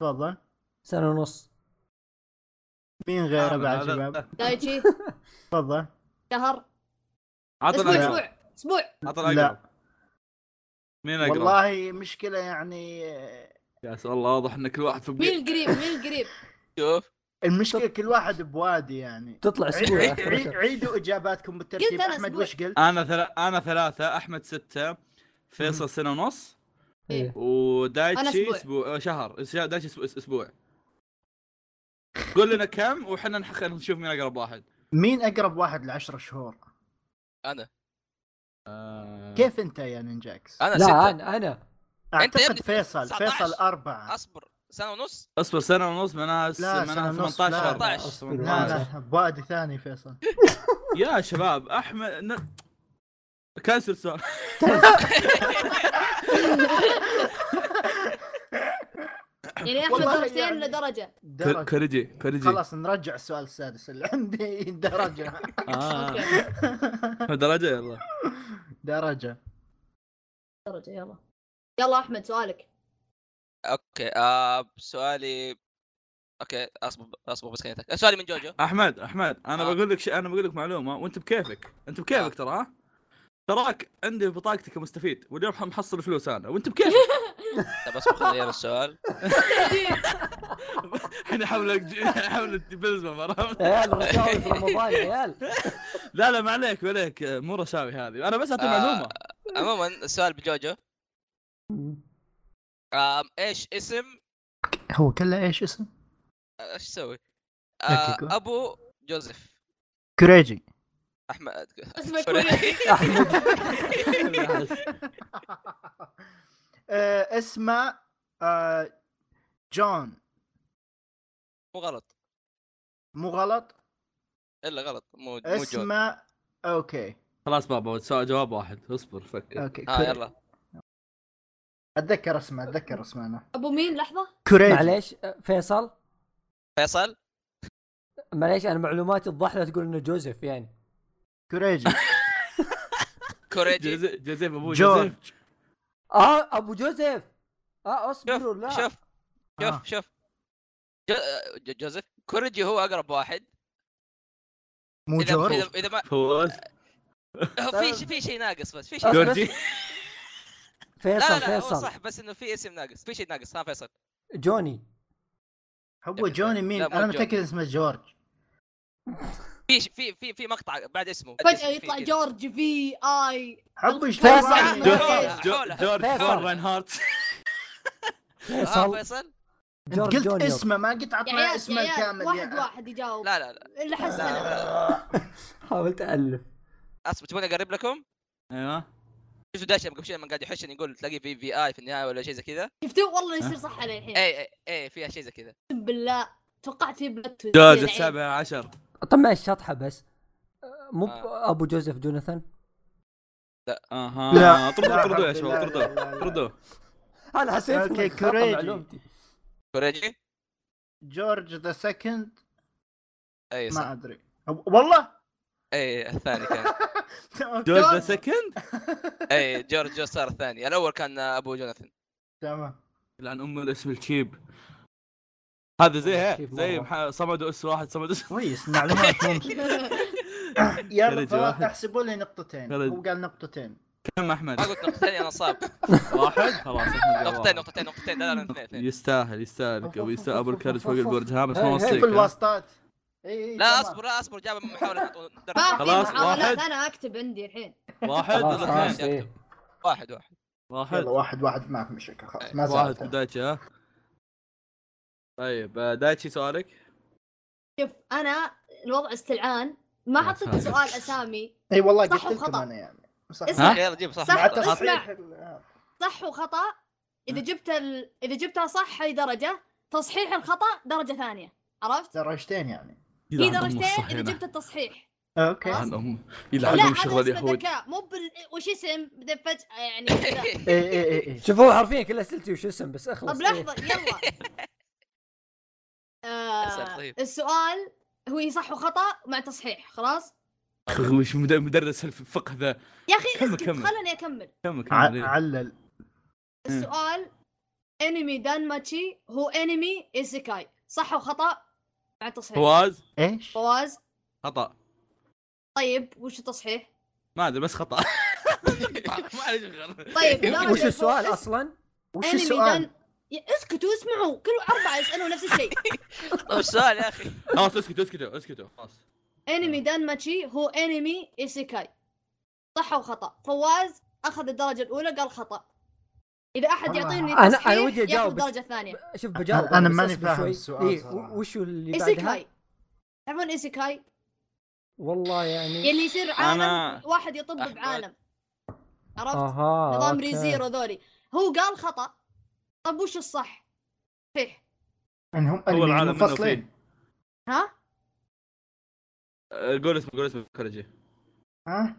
S5: تفضل
S1: سنه ونص
S5: مين غيره
S2: آمن،
S5: بعد
S2: هذا-
S5: شباب [laughs]
S6: دايتشي
S5: تفضل
S6: شهر
S2: عطنا
S6: اسبوع
S2: الأقرب.
S6: اسبوع اسبوع
S2: عطنا
S5: لا.
S2: الأقرب. مين اقرب؟ والله
S5: والله مشكله يعني
S2: ياس والله واضح ان كل واحد في
S6: مين
S2: بقية.
S6: القريب مين
S3: [laughs]
S6: القريب
S3: شوف
S5: المشكله كل واحد بوادي يعني
S1: تطلع
S5: عيد-
S1: اسبوع
S5: عيد-
S1: آخر
S5: عيد-
S1: الشهر.
S5: عيدوا اجاباتكم بالترتيب
S6: قلت أنا
S5: احمد
S6: أسبوع.
S5: وش قلت؟
S2: انا ثلا... انا ثلاثة احمد ستة فيصل سنة ونص
S1: إيه.
S6: أنا
S2: ودايتشي
S6: أسبوع.
S2: اسبوع آه، شهر اس- دايتشي أسبوع- اسبوع قول لنا كم وحنا نحقق نشوف مين اقرب واحد
S5: مين اقرب واحد لعشر شهور؟
S3: انا
S5: كيف انت يا نينجاكس؟
S3: انا
S1: لا
S3: ستة
S1: انا انا
S3: أه، أنت يا ابني
S5: اعتقد فيصل
S3: 19.
S5: فيصل اربعه
S3: اصبر سنة ونص
S2: اصبر سنة ونص معناها س-
S5: لا،
S2: معناها
S5: سنة ونص،
S2: 18
S3: لا.
S1: أصبر.
S5: لا لا بوادي ثاني فيصل
S2: يا شباب احمد ن... كنسل
S3: [laughs]
S2: السؤال
S6: يعني احمد
S5: والله
S6: درجتين
S5: يعني.
S6: لدرجه
S5: درجه
S2: كوريجي كوريجي
S5: خلاص نرجع السؤال السادس اللي عندي [laughs] درجه
S2: آه.
S6: اوكي
S2: درجة يلا
S5: درجه
S6: درجه يلا يلا احمد سؤالك
S3: اوكي آه سؤالي اوكي اصبر اصبر بس كلمتك سؤالي من جوجو
S2: احمد احمد انا
S3: آه.
S2: بقول لك شيء انا بقول لك معلومه وانت بكيفك انت
S3: آه.
S2: بكيفك ترى ها تراك عندي في بطاقتك مستفيد واليوم محصل فلوس انا وانت بكيفك [laughs]
S3: طب اصبر طيب، خليني اغير السؤال
S2: احنا حمله [laughs] حمله بلزمه مرة.
S1: عيال رشاوي في رمضان يا
S5: [laughs]
S1: عيال
S2: لا لا ما عليك ما عليك مو رشاوي هذه انا بس اعطي
S3: آه.
S2: معلومه
S3: عموما السؤال بجوجو آم ايش اسم
S5: هو كله ايش اسم؟
S3: آه، ايش اسوي؟
S5: أكيكو.
S3: آه ابو جوزيف
S5: كريجي
S3: [laughs] احمد
S6: اسمك
S3: سوري.
S5: آه، اسمه آه، جون
S3: [laughs] مو غلط
S5: مو غلط
S3: الا غلط مو مو جون
S5: اسمه اوكي
S2: خلاص بابا سؤال جواب واحد اصبر فكر
S5: اوكي
S3: اه
S5: كوري-
S3: يلا
S5: اتذكر اسمه اتذكر اسمه انا
S6: ابو مين لحظه
S5: كوريجي
S1: معليش فيصل
S3: فيصل
S1: معليش انا معلوماتي الضحله تقول انه جوزيف يعني
S3: [laughs]
S5: كوريجي
S3: كوريجي
S2: جوزيف جوزيف ابو
S5: جورج.
S2: جوزيف
S1: اه ابو جوزيف اه
S3: شوف
S1: اصبروا لا
S3: شوف
S5: آه.
S3: شوف شوف جو- آه، جو- جوزيف كوريجي هو اقرب واحد
S5: مو
S3: اذا
S5: جورج
S3: اذا اذا ما
S2: فوز
S3: هو في شيء في شيء ناقص آه، بس في شيء
S1: أصبر.
S2: جورجي
S1: فيصل
S3: لا لا لا هو
S1: فيصل
S3: صح بس انه في اسم ناقص في شيء ناقص ها فيصل
S1: جوني
S5: هو جوني مين
S3: لا، مو
S5: انا
S3: جورج.
S5: متاكد اسمه جورج
S3: في ش- في في في مقطع بعد اسمه بعد
S6: فجاه
S3: اسمه في
S6: يطلع
S3: كذا.
S6: جورج في اي
S5: حبوا
S1: فيصل.
S3: لا،
S5: يشتغلوا
S3: لا،
S2: جورج
S3: لا،
S2: جو-
S3: حولها.
S2: جورج
S1: فيصل.
S2: فون رينهارت
S3: آه،
S1: فيصل
S3: فيصل
S1: جورج
S5: قلت
S1: جونيور.
S5: اسمه ما قلت
S6: يا
S5: عطنا
S6: عيال يا
S5: اسمه
S6: عيال،
S5: الكامل يعني.
S6: واحد
S5: يا
S6: واحد يجاوب
S3: لا لا لا
S6: اللي حس
S3: لا،
S6: انا
S1: حاولت الف
S3: اصبر تبوني اقرب لكم
S2: ايوه
S3: شفتوا داش قبل شوي لما قاعد يحشني يقول تلاقيه في في اي في النهايه ولا شيء زي كذا إيه،
S6: شفتوه والله يصير صح علي الحين
S3: اي اي اي فيها شيء زي كذا
S6: اقسم بالله توقعت يعني. في بلاد تويست
S2: جورج السابع عشر
S1: طب معليش شطحه بس آه، مو
S3: آه.
S1: ابو جوزيف جوناثان
S2: اها
S5: لا.
S2: طردوه
S5: لا،
S2: طردوه يا
S5: لا،
S2: شباب
S5: لا،
S2: طردوه
S5: لا، لا.
S2: طردوه
S1: انا حسيت
S5: أوكي،
S1: إنه خطأ
S5: كوريجي.
S1: معلومتي.
S3: كوريجي
S5: جورج ذا سكند
S3: اي إيه، صح
S5: ما ادري أب- والله [laughs]
S3: اي الثاني كان
S2: جورج ذا
S5: أوكي.
S2: سكند
S5: [laughs]
S3: اي جورج جو صار الثاني الاول كان ابو جوناثان
S5: تمام
S2: لان ام الاسم الشيب هذا زي ها
S1: الشيب
S2: زي
S1: مرة.
S2: مح- صمد اس واحد صمد اس
S5: كويس معلومات ممكن [laughs] يلا
S2: كرجي
S5: فواز
S2: واحد.
S5: احسبوا لي نقطتين
S2: كرجي.
S5: هو قال نقطتين
S2: [laughs] كم احمد
S3: ما قلت نقطتين انا صاب
S2: واحد خلاص أحمد جاب واحد.
S3: نقطتين نقطتين نقطتين لا لا لا، اثنين اثنين
S2: يستاهل يستاهل
S5: أوف،
S2: قبل
S5: أوف،
S2: يستاهل
S5: أوف،
S2: ابو
S5: أوف،
S2: الكرج
S5: أوف،
S2: فوق
S5: أوف،
S2: البرج ها بس
S1: هاي-
S2: ما
S1: هاي في
S5: في
S2: وصيك ها.
S5: الواسطات إي إي،
S3: لا
S5: تمام.
S3: اصبر لا اصبر جاب محاوله حط
S6: [laughs] ما
S3: درجه
S6: في
S2: خلاص، واحد.
S6: محاولات، انا اكتب عندي الحين
S2: واحد
S1: خلاص
S2: ولا
S1: خلاص
S2: اثنين
S1: إيه.
S3: واحد واحد
S2: واحد
S5: يلا واحد واحد معك مشكلة خلاص ما
S2: واحد
S5: زعلت
S2: كودايتشي ها طيب آه، دايتشي سؤالك
S6: شوف انا الوضع استلعان ما حطيت سؤال اسامي
S5: اي والله
S6: صح
S5: قلت لكم
S6: وخطأ.
S5: انا يعني صح
S6: اسمع.
S2: ها؟
S3: اوكي، يلا جيب صح
S6: صح.
S5: مع
S3: نقطة.
S6: اسمع.
S5: تصحيح ال-
S6: صح وخطا اذا جبت ال... اذا جبتها صح هي درجه تصحيح الخطا درجه ثانيه عرفت
S5: درجتين يعني آه.
S6: في درجتين اذا جبت التصحيح
S5: اوكي
S6: خلاص.
S2: عن أم
S6: لا
S2: يلعن أم
S6: هذا
S2: شغل
S6: اسمه
S2: اليهود
S6: ذكاء مو بال... وش اسم بدا فجاه يعني
S2: [laughs]
S6: كذا.
S3: [laughs]
S5: اي اي اي اي
S1: شوفوا حرفيا كل اسئلتي وش اسم بس اخلص
S6: طب
S1: إيه.
S6: لحظه يلا
S3: أسأل
S6: آه
S3: طيب.
S6: السؤال هو إيه صح وخطا مع تصحيح خلاص
S2: أخي، [laughs] وش مد- مدرس الفقه ذا
S6: يا اخي
S2: كمل،
S6: اسكت
S2: كمل.
S6: خلني اكمل
S2: كم كم
S5: ع- علل
S6: السؤال انمي دان ماتشي هو انمي ايسيكاي صح وخطا مع تصحيح
S2: فواز
S5: ايش؟
S6: فواز
S2: خطا
S6: طيب وش التصحيح
S2: ما ادري بس خطا ما عليه شغل
S6: طيب درجة
S1: وش
S6: فوق
S1: السؤال
S6: اسم
S1: اصلا؟
S5: وش
S6: انمي
S5: السؤال؟
S6: دان يا اسكتوا اسمعوا كل اربعه يسالوا نفس الشيء
S3: طيب السؤال يا اخي
S2: خلاص اسكتوا اسكتوا اسكتوا خلاص
S6: انمي دان ماتشي هو انمي ايسيكاي صح وخطا فواز اخذ الدرجه الاولى قال خطا اذا احد
S5: والله.
S6: يعطيني
S1: أنا- أنا
S6: تصحيح
S1: ودي
S6: ياخذ
S1: أجاوب، بس-
S6: الدرجه الثانيه
S1: شوف بجاوب
S5: أنا
S1: بس
S5: ماني
S1: اصبر
S5: فاهم
S1: شوي.
S5: السؤال
S1: إيه،
S5: صراحة.
S1: وش اللي بعدها؟
S6: ايسيكاي تعرفون ايسيكاي
S1: والله يعني
S6: يلي يصير عالم
S2: أنا-
S6: واحد يطب
S3: أحمد.
S6: بعالم عرفت
S1: اها
S6: نظام
S1: آه، أوكي.
S6: ريزيرو ذولي هو قال خطا طب وش الصح صحيح
S5: انهم
S2: أول عالم منه
S5: منفصلين
S6: ها
S2: أه، قول اسمه قول اسمه كوريجي
S5: ها؟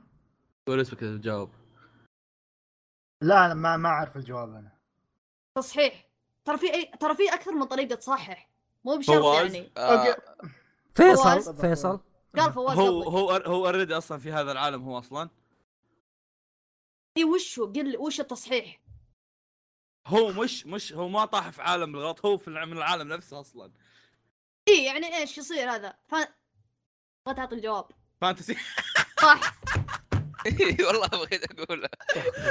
S2: قول اسمك كذا تجاوب
S5: لا أنا ما ما اعرف الجواب انا
S6: تصحيح ترى في أي... ترى في اكثر من طريقه تصحح مو بشرط
S2: فواز.
S6: يعني
S3: آه،
S5: أوكي.
S6: فواز.
S1: فيصل فيصل
S6: قال فواز
S2: هو
S6: هو...
S2: هو هو اوريدي اصلا في هذا العالم هو اصلا
S6: اي إيه، وش هو قل لي وش التصحيح
S2: هو مش مش هو ما طاح في عالم الغلط هو في الع- من العالم نفسه اصلا
S6: اي يعني ايش يصير هذا ف... ما تعطي الجواب [laughs]
S2: فانتسي
S6: صح
S3: [laughs] والله بغيت اقوله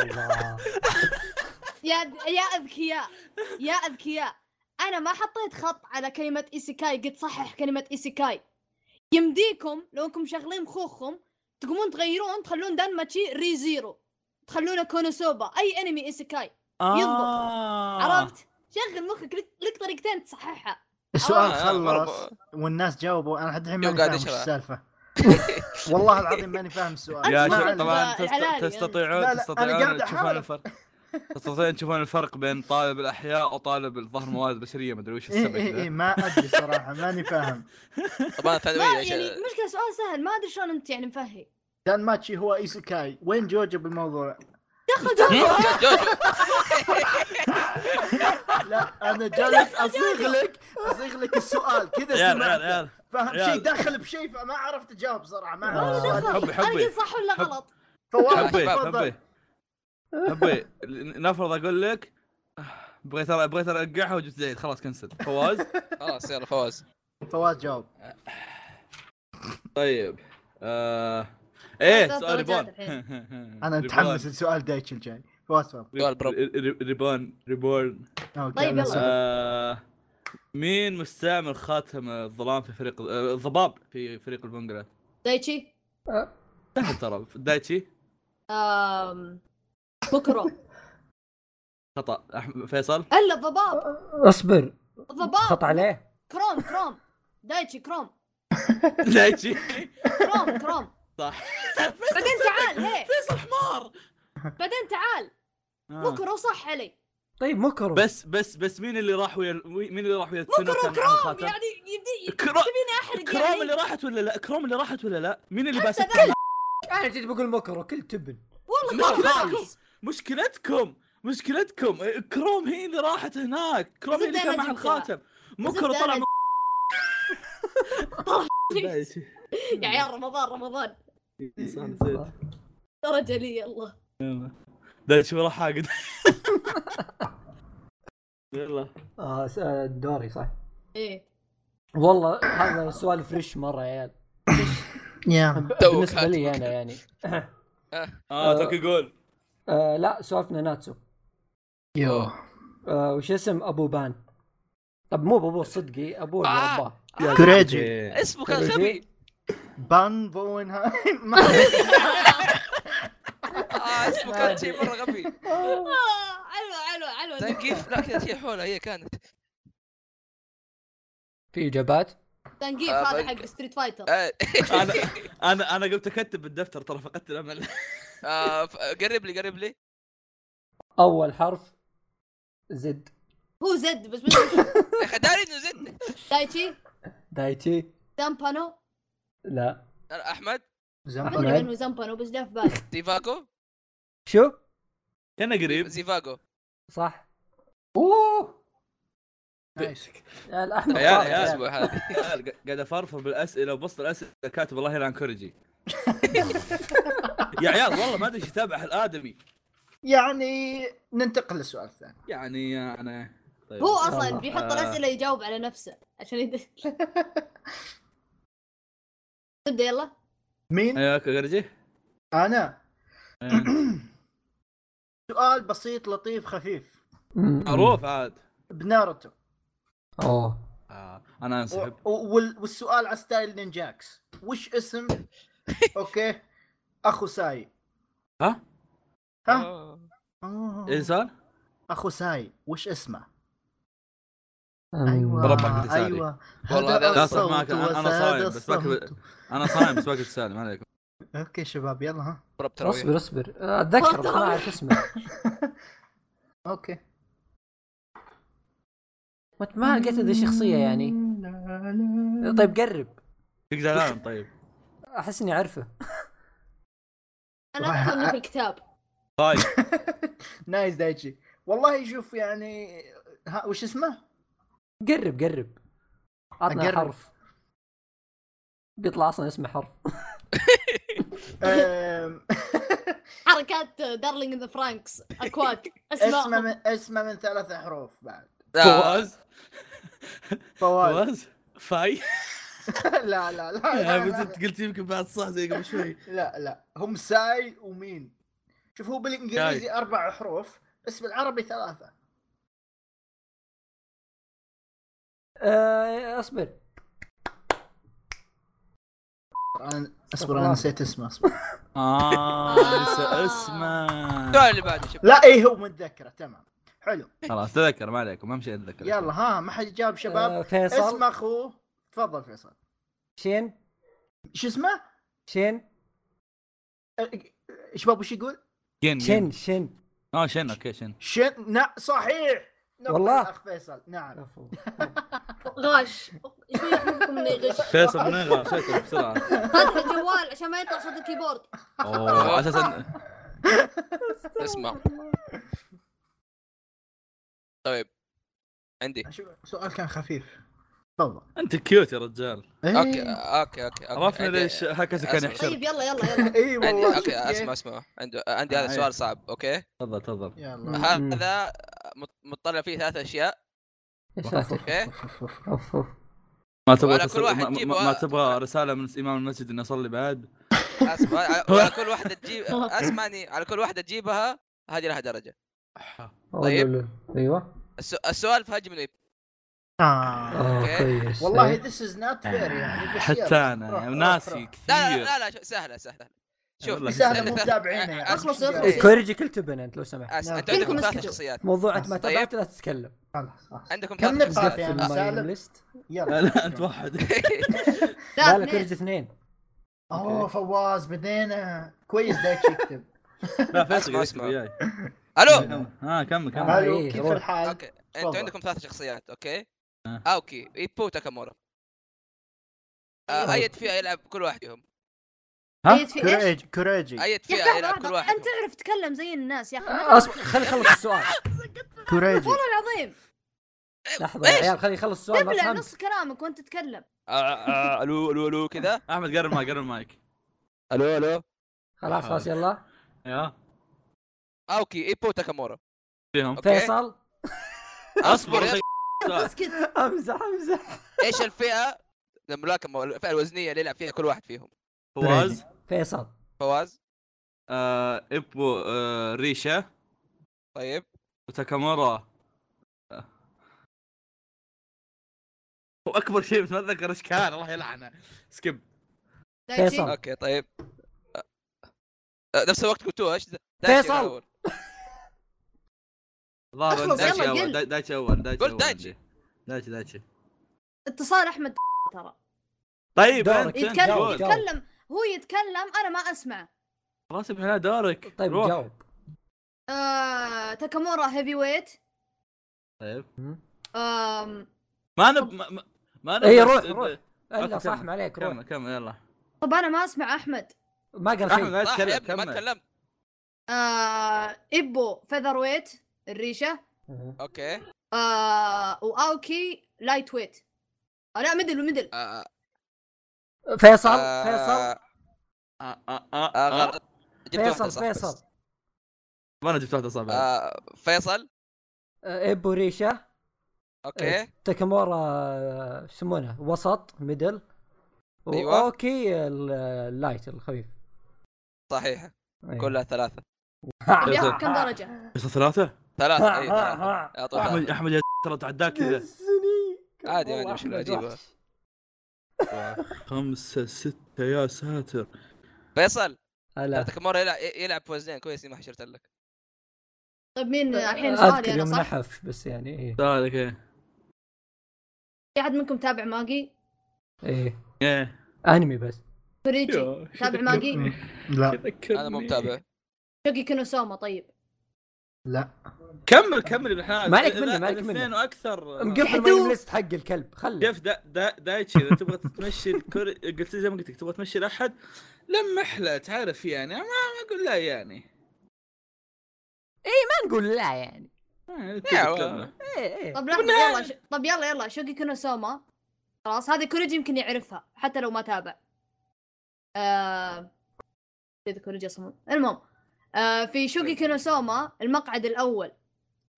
S1: الله.
S6: يا يا اذكياء يا اذكياء انا ما حطيت خط على كلمه ايسيكاي قد صحح كلمه ايسيكاي يمديكم لو انكم شغلين مخوخكم تقومون تغيرون تخلون دان ماتشي ري زيرو تخلونه كونوسوبا اي انمي ايسيكاي
S2: آه.
S6: عرفت شغل مخك لك, لك طريقتين تصححها
S5: السؤال
S3: آه،
S5: خلص
S3: مرة-
S5: والناس جاوبوا انا لحد الحين
S3: جو
S5: ماني
S3: قاعد
S5: فاهم وش
S3: يشرح.
S5: السالفه والله العظيم ماني فاهم السؤال
S2: آه. يا
S5: ما
S2: شباب
S5: علينا.
S2: طبعا
S6: الحلال
S2: تست-
S6: يعني.
S2: تستطيعون
S5: لا، لا، أنا
S2: تستطيعون
S5: قاعد
S2: تشوفون
S5: أحاول.
S2: الفرق تستطيعون تشوفون الفرق بين طالب الاحياء وطالب الظهر مواد بشريه مدري وش
S5: اي
S2: السبب
S5: اي اي
S2: ذا.
S5: إيه، ما ادري صراحه ماني فاهم
S3: طبعا
S2: إيه،
S6: ما
S3: ثانويه
S6: يعني
S3: شيء-
S6: مشكله سؤال سهل ما ادري شلون انت يعني مفهي
S2: آه،
S5: دان ماتشي هو ايسكاي وين جوجو بالموضوع؟
S6: دخل جواب
S3: جوجو
S5: لا انا
S6: [laughs]
S5: جالس اصيغ لك اصيغ لك السؤال كذا
S2: عيال عيال
S5: سمعت
S2: عيال
S5: فاهم
S2: عيال.
S5: شيء دخل بشيء فما عرفت اجاوب صراحه ما
S1: آه.
S5: عرفت السؤال.
S6: دخل
S2: حبي-
S6: انا
S2: حبي.
S6: قلت صح ولا
S2: حب-
S6: غلط
S5: فواز
S2: حبيت
S5: تفضل
S2: حبيت حبيت نفرض اقول لك آه، بغيت أر- بغيت ارقعها وجبت زيد خلاص كنسل فواز
S3: خلاص يلا فوز
S5: فواز جاوب
S2: [laughs] طيب آه... ايه
S6: فواز
S2: سؤال
S6: درجات
S2: ريبون [laughs]
S5: انا متحمس لسؤال دايتش الجاي فواز تفضل
S3: سؤال برب.
S2: ريبون ريبون
S5: أوكي،
S6: طيب،
S5: أنا
S6: يلا.
S5: سعيد.
S2: آه... مين مستعمل خاتم الظلام في فريق آه، الضباب في فريق البنجلة
S6: دايتشي
S2: سهل ترى دايتشي
S6: آم... بكره
S2: خطا أح- فيصل [laughs]
S6: الا الضباب
S1: اصبر
S6: الضباب
S1: خط عليه
S6: كروم كروم دايتشي كروم
S2: دايتشي
S6: كروم كروم
S2: صح
S6: بعدين تعال هي
S2: فيصل حمار
S6: بعدين تعال
S2: آه.
S6: بكره صح علي
S1: طيب مكرو
S2: بس بس بس مين اللي راح ويا ال- وي- مين اللي راح ويا تسنو
S6: بكره
S2: كان معاه
S6: كروم
S2: الخاتم؟
S6: يعني يبدي
S2: كرو-
S6: تبيني احرق
S2: كروم اللي
S6: يعني
S2: راحت ولا لا كروم اللي راحت ولا لا مين اللي باسكت
S1: انا جيت بقول مكرو كل تبن
S6: والله كروم
S2: مشكلتكم
S6: خالص
S2: مشكلتكم مشكلتكم كروم هي اللي راحت هناك كروم هي اللي
S6: زبدة
S2: كان معها
S6: أنا جبتها.
S2: الخاتم مكر
S6: زبدة
S2: طلع
S6: أنا
S2: من
S6: يا عيال رمضان رمضان درجه لي يلا
S2: ده شو راح اقعد يلا
S1: آه س- آه، دوري صح
S6: ايه
S1: والله هذا سؤال فريش مره يا عيال
S5: يا
S1: ب-
S3: توك
S1: بالنسبه لي
S3: هاتفك.
S1: انا يعني
S2: اه توك يقول
S1: آه لا سوالفنا ناتسو
S5: يو
S1: آه وش اسم ابو بان طب مو بابوه صدقي ابوه
S3: آه.
S1: اللي رباه
S5: كريجي
S3: اسمه كان غبي
S5: بان بوينها [laughs] ما
S3: اه اسمه كان شيء مره غبي
S6: آه، حلوه حلوه حلوه
S3: تنقيف لا كذا شيء حوله هي كانت
S1: في اجابات
S6: تنقيف
S3: آه،
S6: هذا
S3: بق-
S6: حق ستريت فايتر
S3: آه،
S2: انا انا انا قمت اكتب بالدفتر ترى فقدت [laughs] الامل
S3: آه، ف- قرب لي قرب لي
S1: اول حرف زد
S6: هو زد بس مش
S3: يا اخي داري انه زد
S6: دايتشي
S1: دايتي
S6: زامبانو
S1: لا
S3: احمد
S6: ما
S1: أحمد.
S6: ادري
S5: طيب.
S6: انه زامبانو بس جاء في بالي
S3: زيفاجو
S1: شو
S2: كان قريب
S3: زيفاجو
S1: صح
S5: اوه نايس
S1: يعني احمد
S2: يا-
S1: صح.
S2: يا-
S3: الاسبوع آه، هذا
S2: قاعد قاعد افرفر بالاسئله وبسط الاسئله كاتب الله يلعن [laughs] كوريجي يا عيال والله ما ادري ايش يتابع الادمي
S5: يعني ننتقل للسؤال الثاني
S2: يعني انا طيب
S6: هو اصلا
S1: آه.
S6: بيحط الاسئله يجاوب على نفسه عشان يد... تبدا يلا
S5: مين؟
S2: ايوه كوريجي
S5: انا إيه. [clears throat] سؤال بسيط لطيف خفيف
S1: مم.
S2: معروف عاد
S5: بناروتو
S1: اوه
S2: آه، انا
S5: و-
S2: انسحب
S5: و- وال- والسؤال على ستايل نينجاكس وش [laughs] اسم اوكي اخو ساي
S2: ها؟
S5: ها
S3: أوه.
S5: آه.
S2: ايه صار؟
S5: اخو ساي وش اسمه
S1: مم.
S5: ايوه
S2: ربع كنت ساري.
S5: ايوه
S2: والله
S5: هذا
S2: لا، صح
S5: الصوت
S2: معك، أنا- أنا
S5: وساد
S2: صايم، بس ما
S5: الصوت.
S2: انا صايم بس باكل سالم عليكم
S5: اوكي شباب يلا ها
S3: ضرب تراويح
S1: اصبر اصبر اتذكر بس ما اعرف اسمه
S5: اوكي
S1: وانت ما لقيت ذي الشخصيه يعني طيب قرب
S2: تقدر الان طيب
S1: احس اني اعرفه
S6: انا اذكر انه في الكتاب
S2: طيب
S5: [laughs]
S2: [laughs]
S5: نايس دايتشي والله شوف يعني ها وش اسمه؟
S1: قرب قرب عطنا
S5: أقرب.
S1: حرف بيطلع اصلا اسمه حرف [laughs]
S5: أم،
S6: حركات دارلينج ذا فرانكس اكواد
S5: اسمه
S6: اسماء
S5: من اسمه من ثلاث احرف بعد
S3: لا،
S2: فواز
S5: فواز
S2: فواز فاي
S5: [laughs] لا لا لا لا,
S2: [laughs] بس
S5: لا,
S2: انت قلت يمكن بعد صح زي قبل شوي
S5: لا, لا هم ساي ومين شوف هو بالانجليزي اربع حروف بس بالعربي ثلاثه
S1: آه، اصبر
S5: انا اصبر انا نسيت اسمه اصبر
S2: اه نسى اسمه
S3: [laughs] السؤال اللي بعده شوف
S5: لا اي هو متذكره تمام حلو
S2: خلاص تذكر ما عليكم ما شيء اتذكر
S5: يلا ها ما حد جاب شباب
S1: آه، فيصل
S5: اسم اخوه تفضل فيصل
S1: شين
S5: شو اسمه؟
S1: شين
S5: أه، شباب وش يقول؟
S2: شن
S1: شين شين
S2: اه شن اوكي شن
S5: شن نا صحيح نقطة
S1: والله.
S5: الاخ فيصل نعم
S6: غاش شوي احبكم انه يغش
S2: [laughs] فيصل من غير شكله بسرعه
S6: هذا الجوال عشان ما يطلع صوت
S1: [laughs]
S6: الكيبورد
S2: اوه اساسا [laughs]
S3: اسمع طيب عندي
S5: شوف، سؤال كان خفيف تفضل إيه،
S2: انت كيوت يا رجال
S3: اوكي اوكي اوكي اوكي
S2: عرفنا
S3: عندي-
S2: ليش هكذا كان
S3: أسمع.
S2: يحشر
S6: طيب يلا يلا
S1: [laughs]
S6: يلا
S5: اي
S3: عندي
S5: إيه، والله
S3: اوكي
S5: شوف كيف.
S3: اسمع اسمع عنده عندي هذا
S2: آه،
S3: سؤال صعب اوكي
S2: تفضل تفضل
S5: يلا
S1: مم.
S3: هذا مت- متطلع فيه ثلاث اشياء
S1: يا
S2: طيب.
S1: ساتر
S3: اوكي
S1: اوف اوف
S2: ما تبغى
S3: وعلى كل
S2: تصل-
S3: واحد
S2: ما- ما,
S3: جيب
S2: ما
S3: واحد.
S2: تبغى رساله من امام المسجد اني اصلي بعد [laughs]
S3: اسمع على- على كل واحده
S5: [laughs]
S3: تجيب اسمعني على كل واحده تجيبها هذه لها درجه طيب.
S1: أولو- ايوه
S3: الس- السؤال في هجم
S5: آه.
S1: آه،
S3: أوكي.
S1: كويس
S5: والله
S1: إيه.
S5: ذس از
S2: آه.
S5: نوت فير يعني بس
S2: حتى
S5: يلا. روح،
S2: انا
S5: روح،
S2: ناسي
S5: روح.
S3: لا
S2: كثير
S3: لا لا, لا شو- سهله سهله شوف
S2: والله
S5: سهلة، مو متابعينها يعني.
S6: اخلصوا
S1: إيه،
S6: اخلصوا
S1: كوريجي كل تبن انت لو سمحت
S3: أس... انت
S5: كلكم
S3: عندكم ثلاث
S6: اسكتوا.
S3: شخصيات
S1: موضوع انت ما
S3: طيب.
S1: تابعت لا تتكلم
S5: خلاص، خلاص.
S3: عندكم
S5: كم
S3: ثلاث
S5: نقطة
S3: شخصيات
S5: في
S1: في
S5: سالم.
S1: ليست
S5: يلا
S2: لا لا انت
S3: [laughs]
S2: واحد
S1: لا
S6: لا
S1: لا
S6: اثنين.
S1: كوريجي اثنين
S5: اوه فواز بدينا كويس دايتش يكتب
S2: لا فيصل
S3: اسمع،
S2: قاعد
S3: اسمع.
S2: يكتب وياي
S3: الو
S2: ها كمل كمل
S1: آه.
S5: الو
S1: إيه،
S5: كيف
S1: روح.
S5: الحال؟
S3: اوكي
S5: تفضل.
S3: انتوا عندكم ثلاث شخصيات اوكي
S2: آه.
S3: اوكي ايبو تاكامورا آه، اية فئه يلعب كل واحد فيهم
S2: ها؟
S6: أيد في ايش؟
S5: كوريجي كوريجي
S2: إيه.
S3: اية
S6: يا
S3: فئه
S6: أخي لحظة،
S3: يلعب كل
S6: لحظة،
S3: واحد
S6: انت
S3: فيهم
S6: تعرف تتكلم زي الناس يا اخي
S3: آه.
S6: ما
S1: اصبر خلي يخلص
S3: [laughs]
S1: السؤال
S5: كوريجي
S6: والله العظيم
S1: لحظه يا
S3: إيش؟
S1: عيال خلي يخلص السؤال ما
S6: تبلع
S1: فهمت
S6: نص كلامك وانت تتكلم
S3: آه، آه، آه، الو الو الو كذا
S2: احمد قرب المايك قرب المايك
S3: الو الو
S1: خلاص
S3: آه.
S1: خلاص يلا
S2: ايوه
S3: اوكي ايبو تاكامورا
S2: فيهم
S3: أوكي.
S1: فيصل
S2: اصبر
S3: اصبر
S2: سؤال.
S1: [laughs]
S6: اسكت
S1: امزح امزح
S3: ايش الفئه الملاكمه الفئه الوزنيه اللي يلعب فيها كل واحد فيهم
S2: فواز
S1: فيصل
S3: فواز
S2: آه، ابو آه، ريشه
S3: طيب
S2: وتاكامورا آه. واكبر شيء بس ما اتذكر ايش كان الله يلعنه سكيب
S6: دايتشي.
S1: فيصل.
S3: اوكي طيب آه، آه، نفس الوقت قلتوها ايش ذا- دايتشي
S1: فيصل.
S3: الأول.
S2: الظاهر
S6: أخلص،
S2: دايتشي
S6: يلا،
S2: اول
S6: قل.
S2: داي- دايتشي اول دايتشي
S3: قل
S2: اول
S3: دايتشي.
S2: عندي. دايتشي دايتشي
S6: اتصال احمد ترى
S2: طيب
S1: دورك.
S2: انت انت
S6: يتكلم
S1: جاوب،
S2: قول.
S1: جاوب.
S6: يتكلم هو يتكلم انا ما اسمع
S2: خلاص يا ابن دورك
S1: طيب
S2: روح.
S1: جاوب
S6: آه... تاكامورا هيفي ويت
S2: طيب
S6: آم...
S2: ما انا ما- ما- ما انا
S1: إيه، روح، روح. الا
S2: أوكي،
S1: صح
S2: كمل.
S1: ما عليك روح
S2: كمل كمل يلا
S6: طب انا ما اسمع احمد
S1: ما قال
S2: احمد
S1: شيء
S2: ما
S3: صح يا ابني
S2: تتكلم
S3: ما
S2: كمل
S3: تكلمت
S6: آه ابو فيذر ويت الريشه
S1: مهم.
S3: اوكي
S6: آه واوكي لايت ويت آه لا ميدل ميدل
S3: آه،
S1: فيصل
S3: آه،
S1: فيصل
S2: آه، آه، آه،
S3: آه،
S2: آه.
S3: غلط. جبت واحدة
S1: فيصل
S3: صح
S1: فيصل
S3: بس.
S2: ما انا جبت واحده صعبه
S3: آه، فيصل
S1: آه، ابو ريشه
S3: اوكي
S1: إيه. تاكامورا آه، شو يسمونه وسط ميدل
S3: أيوة.
S1: اوكي اللايت الخفيف
S3: صحيح
S1: أيوة.
S3: كلها ثلاثه
S1: آه،
S6: طب
S3: [laughs]
S2: فيصل.
S6: ياخذ كم درجه؟
S2: بس ثلاثه
S3: ثلاثه اي
S1: [laughs]
S3: ثلاثه إيه، يا طول
S2: احمد
S3: العمر.
S2: احمد يا ترى تعداك [laughs] كذا
S3: عادي، ما
S1: والله
S3: أدري وش
S1: أحمد
S3: اللي أجيبه.
S1: وحش.
S2: خمسه سته يا ساتر
S3: فيصل
S1: هلا
S3: ترى تاكامورا يلعب يلعب وزنين كويس إني ما حشرت لك
S6: طيب مين الحين سؤالي
S1: اذكر
S6: انا
S1: آه، يوم
S6: صح؟
S1: نحف بس يعني ايه
S2: سؤالك ايه
S6: في احد منكم تابع ماجي؟
S1: ايه
S2: ايه
S1: انمي بس
S6: فريجي تابع ماجي؟
S5: لا
S3: انا مو متابع
S6: شوكي كينوسوما طيب
S5: لا
S2: كمل كمل احنا
S1: ما عليك
S2: إذا-
S1: منه، ما
S2: إذا
S1: عليك منه.
S2: اثنين واكثر
S1: مقفل
S6: حدود.
S1: ماي ليست حق الكلب خله
S2: شوف دا دا دايتشي اذا تبغى تمشي الكوري قلت لي زي ما قلت لك تبغى تمشي لاحد لمح له تعرف يعني ما ما اقول لا يعني
S1: ما نقول لا يعني
S2: آه،
S3: يا
S2: تتكلم.
S1: ايه ايه
S6: طب لحظه يلا ش... طب يلا يلا شوكي كونوسوما خلاص هذه كوريجي يمكن يعرفها حتى لو ما تابع آه... نسيت كوريجي اصلا المهم آه في شوكي كونوسوما المقعد الاول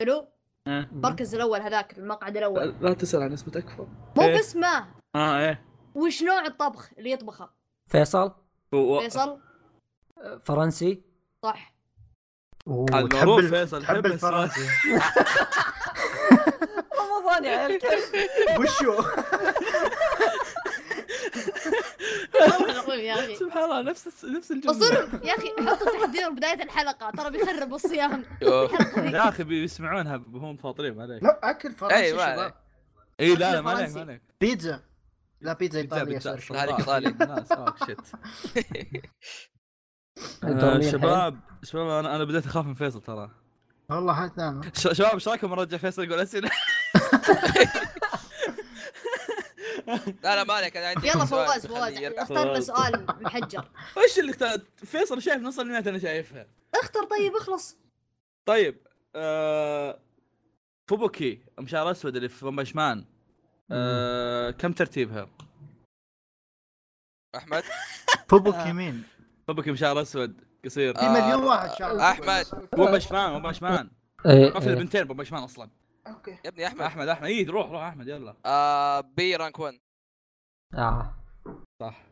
S6: حلو
S2: آه.
S6: المركز الاول هذاك المقعد الاول
S2: لا تسال عن اسمه تكفى
S6: مو
S2: إيه.
S6: باسمه
S2: اه ايه
S6: وش نوع الطبخ اللي يطبخه
S1: فيصل
S2: و-
S6: فيصل
S1: فرنسي
S2: [laughs]
S6: صح
S5: أوه،
S2: هذا
S5: تحب
S2: معروف
S5: ال-
S2: فيصل،
S5: تحب
S2: تحب
S5: الفرنسي
S1: رمضان يا [laughs] الكلب
S5: وشو
S6: يا اخي
S2: سبحان الله نفس نفس الجمله
S6: اصر يا اخي حطوا تحذير بدايه الحلقه ترى بيخرب الصيام
S2: أه.
S6: الحلقه ذي
S2: يا اخي بيسمعونها هم فاطرين ما عليك
S5: لا اكل فرنسي
S3: أيوة،
S5: شباب
S3: عليك.
S2: اي لا لا ما
S6: فرنسي.
S2: عليك ما عليك
S5: بيتزا لا بيتزا
S1: طيب،
S2: بيتزا، بيتزا،
S5: ايطاليه سوري.
S3: هذه
S2: الله،
S3: إيطالية.
S2: الناس، آه، شيت.
S1: دور طيب،
S2: آه،
S1: مين
S2: شباب شباب انا انا بديت اخاف من فيصل ترى
S5: والله هات [laughs] نعم
S2: ش- شباب ايش رايكم نرجع فيصل يقول [laughs] اسئله
S3: [laughs] لا لا ما عليك انا
S2: [laughs]
S3: عندي
S6: يلا
S3: سؤال
S6: فواز
S3: بيخليني
S6: فواز
S3: يركض.
S6: اختار لنا سؤال محجر
S2: ايش اللي اخترت؟ فيصل شايف نص الانميات انا شايفها
S6: اختر طيب اخلص
S2: طيب آه... فوبوكي ام شعر اسود اللي في بشمان آه... كم ترتيبها؟
S3: احمد
S5: فوبوكي مين؟
S2: فوبوكي ام شعر اسود قصير
S5: في
S3: آه،
S5: مليون واحد شعر
S3: أحمد.
S2: بومبشمان
S3: [laughs]
S2: بومبشمان
S3: إيه،
S2: ما في
S1: حلو
S2: البنتين بومبشمان اصلا
S5: اوكي
S3: يا ابني احمد
S2: احمد احمد اي إيه، روح روح احمد يلا
S3: آه بي رانك 1
S1: اه
S2: صح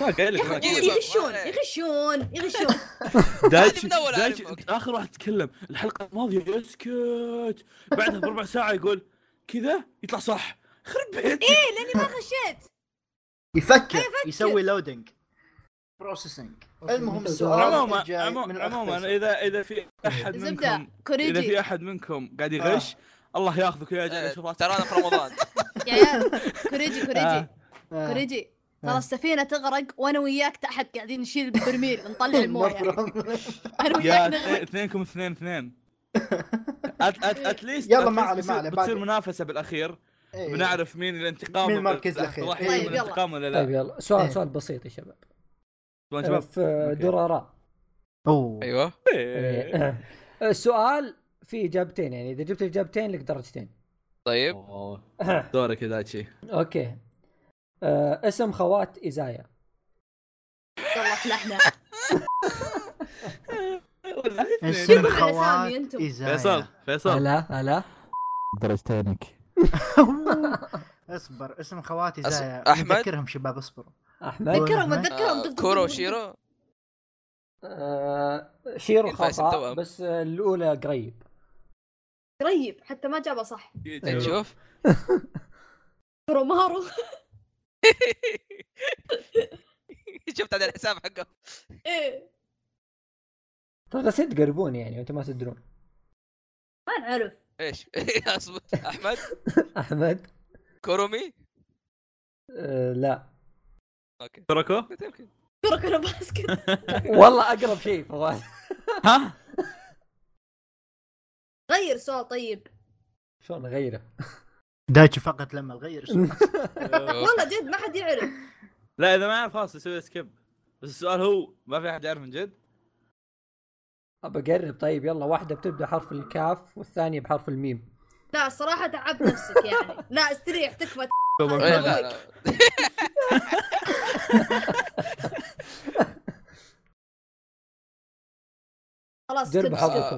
S2: ما قايل لك
S3: يا أخي، إيه،
S2: أنا-
S6: يغشون يغشون [laughs] يغشون
S2: دايتشي
S3: من أول
S2: دايتشي
S3: أعرفك.
S2: اخر واحد تكلم الحلقه الماضيه يسكت بعدها بربع ساعه يقول كذا يطلع صح خرب بيتك
S3: إيه.
S6: ايه لاني ما غشيت
S5: يفكر يسوي لودنج بروسيسنج المهم السؤال
S2: عموما
S5: الجاي
S2: عمو-
S5: من الأخ
S2: عموما
S5: فيصل.
S2: اذا اذا في احد
S6: زبده
S2: منكم اذا
S6: كوريجي
S2: في احد منكم
S5: آه.
S2: قاعد يغش الله ياخذك ويرجع
S3: آه،
S2: يشوف
S3: ترى انا في
S2: [laughs]
S3: رمضان
S6: يا
S5: [laughs]
S6: عيال كوريجي كوريجي
S5: آه.
S6: كوريجي
S5: آه.
S6: ترى السفينة تغرق وانا وياك تحت قاعدين نشيل البرميل
S5: [laughs]
S6: نطلع الموية انا
S2: يا
S6: وياك
S2: اثنين-
S6: نغرق
S2: اثنينكم اثنين
S3: [laughs]
S2: اثنين أت أت اتليست
S5: يلا ما علي، ما علي،
S2: بتصير
S5: بعدين.
S2: منافسه بالاخير
S5: إيه.
S2: بنعرف مين الانتقام
S5: مين
S2: ولا-
S5: المركز الأخير.
S2: راح
S5: طيب،
S2: يجي من
S6: يلا.
S2: الانتقام ولا
S1: طيب
S2: لا
S1: يلا سؤال
S5: إيه.
S1: سؤال بسيط يا شباب
S2: سبونج
S1: آه،
S2: بوب
S1: في
S2: أوكي.
S1: دورارا
S5: اوه
S2: أيوه.
S3: ايوه
S2: إيه.
S1: إيه. السؤال في اجابتين يعني اذا جبت اجابتين لك درجتين [coughs]
S3: طيب
S2: أوه. دورك يا دايتشي
S1: اوكي آه، اسم خوات ازايا
S6: والله
S5: [laughs]
S6: فلحنا
S5: اسم
S6: بالأسامي
S5: خوات
S6: أنتم.
S5: إزايا.
S2: فيصل فيصل
S1: هلا هلا
S4: درجتينك
S5: اصبر اسم خوات
S3: أص-
S5: إزايا
S3: أحمد؟
S5: اذكرهم شباب اصبروا
S2: طيب.
S1: احمد
S6: ذكرهم
S5: آه،
S6: اتذكرهم دق- دق- دق-
S3: كورو
S6: دق- دق.
S3: شيرو
S2: أيوه.
S1: آه، شيرو
S3: كيف اسم
S1: خطا
S3: توأم؟
S1: بس آه، الاولى قريب
S6: قريب طيب، حتى ما جابه صح
S2: إيه،
S1: إيه،
S3: شوف
S6: كورو مارو
S3: [laughs]
S6: [laughs]
S3: شفت هذا الحساب حقه
S6: ايه
S1: ترى قصدي تقربون يعني وانتم ما تدرون
S6: ما نعرف
S3: [laughs] ايش اصبر احمد
S1: احمد
S3: كورومي
S1: آه،
S5: [laughs]
S1: لا
S3: اوكي
S2: تركه
S3: قلت يمكن
S6: كورو كورو باسكت
S1: والله اقرب شيء فواز
S2: ها
S6: غير سؤال طيب
S1: شلون نغيره
S5: دايتشي فقط لما نغير [laughs] اسمه.
S3: آه.
S6: والله جد ما حد يعرف
S2: لا اذا ما يعرف خلاص يسوي سكيب بس السؤال هو ما في احد يعرف من جد؟
S1: ابى اقرب طيب يلا واحده بتبدا حرف الكاف والثانيه بحرف الميم
S6: لا الصراحة تعبت نفسك يعني لا استريح تكفى
S1: طيب،
S3: إيه، لا، لا.
S6: خلاص
S1: جربوا
S6: كده
S1: حظكم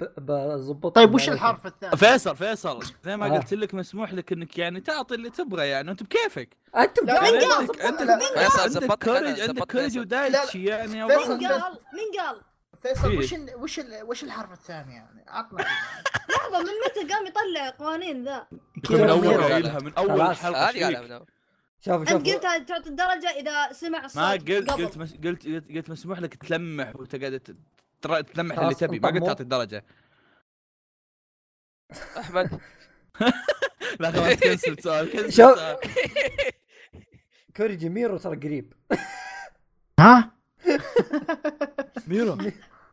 S1: ب- بظبط
S5: طيب وش الحرف الثاني؟
S2: فيصل فيصل زي ما
S1: آه.
S2: قلت لك مسموح لك انك يعني تعطي اللي تبغى يعني انت بكيفك يعني
S1: انتم
S5: لا،
S1: جايين
S6: لا،
S1: غصب
S2: عندك عندك
S5: لا.
S3: فيصل،
S2: عندك
S3: زبطت أنا،
S2: كوريج عندك
S3: زبطت
S2: كوريج
S3: فيصل.
S2: ودايتشي يعني يا
S5: فيصل.
S6: مين قال مين قال
S5: فيصل
S2: إيه.
S5: وش ال- وش ال- وش الحرف الثاني يعني؟ [laughs] عطنا
S6: لحظة من متى قام يطلع قوانين ذا
S2: من
S1: كذا
S2: اول
S1: مين قال؟
S2: قايلها من اول
S1: خلاص.
S2: الحلقه
S3: هذه
S2: إيش
S3: قالها من
S2: فيك؟
S3: أول.
S1: شوفوا
S6: انت قلت
S1: شوفوا
S6: تعطي الدرجة اذا سمع الصوت
S2: ما قلت
S6: قبل.
S2: قلت مس- قلت قلت قلت مسموح لك تلمح وتقعد ت- ترا- تلمح اللي
S1: خلاص،
S2: تبي ما قلت
S1: انضموا.
S2: تعطي الدرجه
S3: احمد
S2: لا خلاص كنسل سؤال كنسل
S1: شوف.
S3: [laughs]
S2: سؤال.
S1: كوريجي ميرو ترى قريب [laughs]
S5: ها؟ [laughs]
S2: ميرو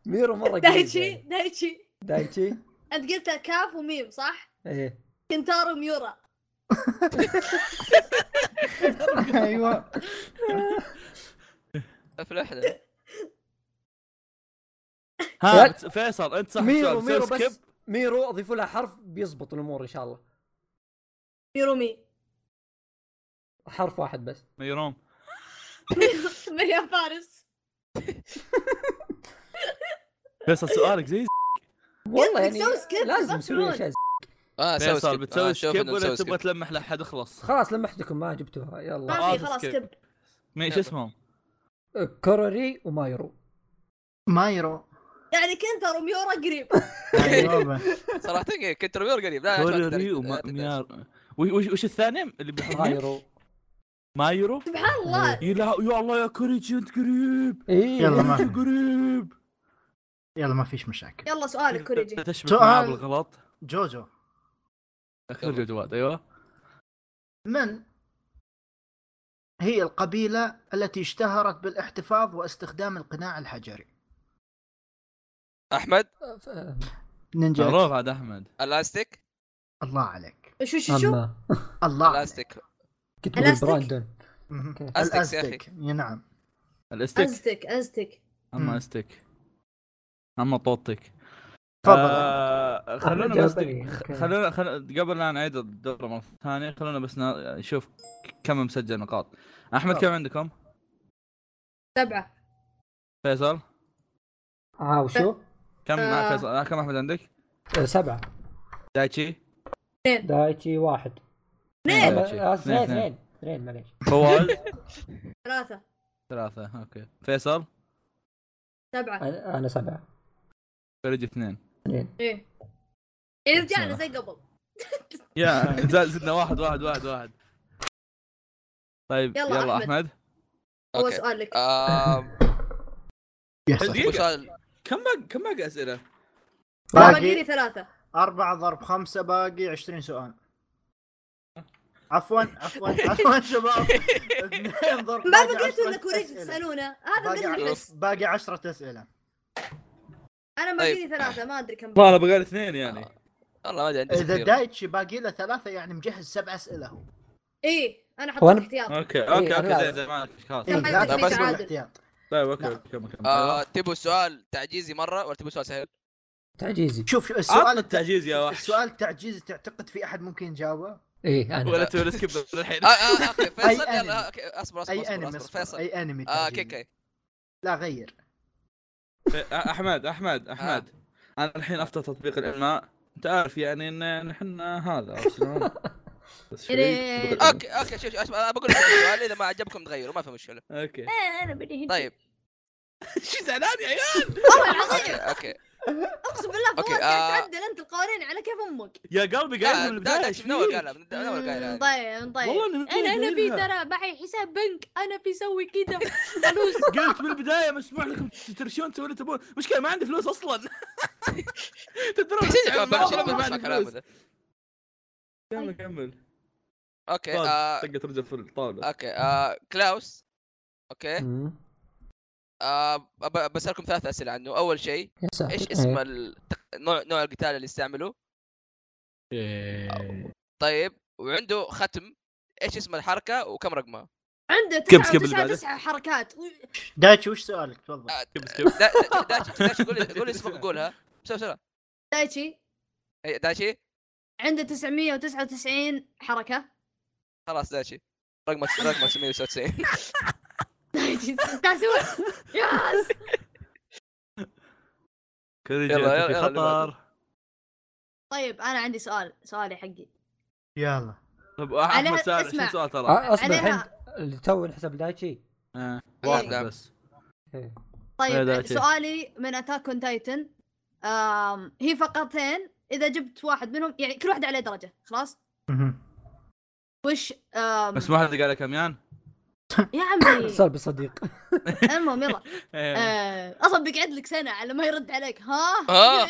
S1: ميرو مره قريب
S6: دايتشي
S1: يعني.
S6: دايتشي
S1: دايتشي
S6: انت قلت كاف وميم صح؟
S1: ايه
S6: كنتارو ميورا
S5: ايوه
S3: افلحنا
S2: ها بت- فيصل انت صح
S1: ميرو
S2: السؤال
S1: ميرو
S2: سوي سكيب
S1: بس ميرو اضيفوا لها حرف بيزبط الامور ان شاء الله
S6: [laughs] ميرومي
S1: حرف واحد بس
S2: ميروم
S6: مريم فارس
S2: فيصل سؤالك زي
S1: والله
S6: قلت لك
S1: يعني
S6: سوي سكيب،
S1: لازم
S6: بس
S1: نسوي
S6: رول.
S1: اشياء
S3: اه سوي
S2: فيصل
S3: سكيب. آه،
S2: بتسوي
S3: شوف
S2: سكيب
S3: إنه
S2: ولا
S3: نسوي [laughs]
S2: تبغى
S3: سكيب.
S2: تلمح لاحد خلاص
S1: خلاص لمحتكم ما جبتوها يلا
S6: ما في
S2: آه،
S6: خلاص
S2: سكيب.
S6: كب
S2: مي- ايش اسمهم؟
S1: كوروري ومايرو
S5: مايرو
S6: يعني كنتارو ميورا قريب [laughs]
S5: ايوه
S3: صراحه إيه، كنت رميور قريب لا أشرح
S2: كوريري
S3: لك.
S2: وما-
S3: آه،
S2: ميار وش- وش وش الثاني اللي بيحبهم؟
S1: مايرو
S2: مايرو
S6: سبحان الله
S2: يا لا- يا الله يا كوريجي انت قريب
S1: ايه
S5: يلا ما
S2: انت قريب
S5: يلا ما فيش مشاكل
S6: يلا سؤالك كوريجي
S2: تشبك
S5: سؤال.
S2: معاه بالغلط
S5: جوجو
S2: اخرج جواد ايوه
S5: من هي القبيلة التي اشتهرت بالاحتفاظ واستخدام القناع الحجري؟
S3: احمد
S1: ف-
S5: نينجا
S2: معروف عاد احمد
S3: الاستيك
S5: الله عليك
S6: شو شو شو
S1: اما
S6: آه.
S5: الله عليك
S3: الاستيك
S1: كنت بقول
S6: ألاستيك؟
S1: براندون
S5: مهم.
S1: أوكي.
S3: أزتك يا أخي.
S5: الأزتك يا نعم
S2: الاستيك
S6: ازتك ازتك
S2: اما
S5: مم.
S2: استيك اما طوطك
S5: تفضل
S2: آه
S1: أحمد
S2: خلونا
S1: جاب
S2: بس
S1: بني،
S2: خ-
S1: أوكي.
S2: خلونا خل... قبل لا نعيد الدورة مرة ثانية خلونا بس نا- نشوف كم مسجل نقاط احمد
S1: آه.
S2: كم عندكم؟
S6: سبعة
S2: فيصل
S1: اه وشو؟
S2: كم مع
S6: آه.
S2: فيصل آه، كم احمد عندك؟
S1: آه، سبعة
S2: دايتشي
S1: دايتشي واحد
S6: اثنين.
S2: دايتشي.
S1: آه، اثنين
S2: اثنين.
S1: اثنين اثنين معليش
S2: فواز
S6: ثلاثة
S2: ثلاثة اوكي فيصل
S6: سبعة
S1: أنا أنا سبعة
S2: فرج اثنين
S1: اثنين
S6: ايه يعني رجعنا زي قبل
S2: يا زاد- زدنا واحد واحد واحد واحد طيب
S6: يلا
S2: يلا,
S6: أحمد.
S2: احمد
S6: هو
S3: اوكي
S6: سؤالك
S3: آم،
S5: يا صح.
S2: دقيقة.
S3: وسؤال
S2: كم باقي كم باقي اسئلة؟
S6: باقي
S5: باقي
S6: لي ثلاثة
S5: أربعة ضرب خمسة باقي 20 سؤال عفوا
S6: [laughs]
S5: عفوا عفوا شباب اثنين ضرب
S6: ما
S5: باقي
S6: بقيتوا
S5: 10
S6: الا كوريجي
S5: أسئلة.
S6: تسالونه هذا
S5: باقي
S6: من
S5: عشرة-
S6: الحس
S5: باقي 10 أسئلة
S6: انا باقي لي
S3: طيب.
S6: ثلاثة ما ادري كم
S2: والله بقى اثنين يعني
S6: آه.
S3: والله ما ادري عندي
S5: إذا
S3: كثير
S5: دايتشي باقي له ثلاثة يعني مجهز سبع أسئلة هو
S6: ايه انا حطيت
S1: وأنا-
S6: احتياط
S2: اوكي
S1: إيه،
S2: اوكي اوكي
S1: لا.
S2: زي زي معك خلاص
S5: إيه،
S6: طبعاً
S5: لا
S3: تدريس
S5: تحسب
S6: عادل.
S5: الاحتياط.
S2: طيب اوكي اوكي اوكي
S3: آه، تبوا سؤال تعجيزي مره ولا تبوا سؤال سهل؟
S1: تعجيزي
S5: شوف
S2: سؤال
S5: السؤال
S2: التعجيز يا وحش
S5: السؤال تعجيزي تعتقد في أحد ممكن يجاوبه؟
S1: ايه
S2: ولا
S1: أنا
S2: تسوي سكيب الحين
S3: آه، آه، اوكي
S5: أي
S3: فيصل
S5: أنمي.
S3: يلا آه، اوكي اصبر اصبر
S5: أي
S3: اصبر
S5: أنمي
S3: اصبر فيصل
S5: أي أنمي
S3: اه
S5: تعجيزي.
S3: اوكي اوكي
S5: لا غير
S2: احمد احمد احمد
S3: آه.
S2: انا الحين افتح تطبيق العلماء انت عارف يعني ان نحن هذا عرفت
S3: [laughs]
S2: شلون؟ بس شوي
S6: إيه.
S2: تطبيق العلماء.
S3: اوكي اوكي شوف شوف أصبر، انا بقول لكم السؤال اذا ما عجبكم تغيروا ما في
S5: [laughs]
S3: مشكله [laughs]
S2: اوكي
S6: إيه، انا بدي
S3: طيب
S2: شو زعلان يا عيال
S6: والله العظيم
S3: اوكي اوكي
S6: اقسم بالله
S3: أوكي،
S6: فواز قاعد
S3: آه.
S6: تعدل انت القوانين على كيف امك
S2: يا قلبي
S3: لا
S2: قاعد من
S3: لا،
S2: البدايه
S3: لا،
S2: إيش
S3: شوف، من اول
S2: فيك؟
S3: قالها من من اول قالها [laughs] هذه.
S6: طيب طيب
S2: والله من
S6: انا انا في
S2: قلبها.
S6: ترى معي حساب بنك انا في سوي كذا فلوس
S2: قلت من البدايه مسموح لكم ترشون تسوون اللي تبون مشكله ما عندي فلوس اصلا [laughs]
S3: [laughs]
S2: تدرون
S5: طيب،
S3: بس
S2: أنت
S3: إنت ما بعرف شنو
S2: ما
S3: بسمع
S2: عندي
S3: كلامه
S2: فلوس. طيب.
S3: ذا.
S2: كمل كمل
S5: طيب،
S3: اوكي
S2: طال،
S3: آه،
S2: طقت رجل في الطاوله
S3: اوكي آه، كلاوس اوكي
S1: مم.
S3: آه، أب- بسالكم ثلاث اسئله عنه اول شيء
S1: يا ساتر.
S5: طيب.
S3: ايش اسم
S1: إيه.
S3: التق... نوع نوع القتال اللي استعملوه
S2: إيه.
S3: طيب وعنده ختم ايش اسم الحركه وكم رقمها
S6: عنده
S2: كب-
S6: 9
S2: كب اللي
S6: 9
S2: بعده.
S6: 9 حركات و-
S5: دايتشي وش سؤالك تفضل
S3: آه،
S2: سكيب سكيب
S3: دا- دا- دايتشي دايتشي قول قول اسمك قولها بسرعه بسرعه
S6: دايتشي
S3: إيه، دايتشي
S6: عنده 999 [laughs] حركه
S3: خلاص دايتشي رقم رقم 999
S6: دايتشي تسوي ياس
S2: كذا
S3: يلا،
S2: جاءت في
S3: يلا، اللي بعده.
S2: خطر
S6: طيب انا عندي سؤال سؤالي حقي [laughs]
S5: يلا [laughs]
S2: طب احمد
S6: عليها-
S2: سال
S6: اسمع. آه.
S2: 20 سؤال ترى
S1: أ- اصبر
S6: عليها-
S1: آه، الحين اللي تو نحسب دايتشي
S2: آه،
S3: واحد
S2: واحد بس
S1: إيه.
S2: إيه،
S6: طيب
S2: دايتشي.
S6: سؤالي من اتاك اون تايتن هي فقرتين اذا جبت واحد منهم يعني كل واحده عليه درجه خلاص وش آم،
S2: بس ما حد قال لك اميان
S6: يا
S1: [laughs]
S6: عمي
S1: صار بصديق
S6: المهم يلا
S2: إيه.
S6: آه، اصلا بيقعد لك سنه على ما يرد عليك ها [laughs]
S3: آه.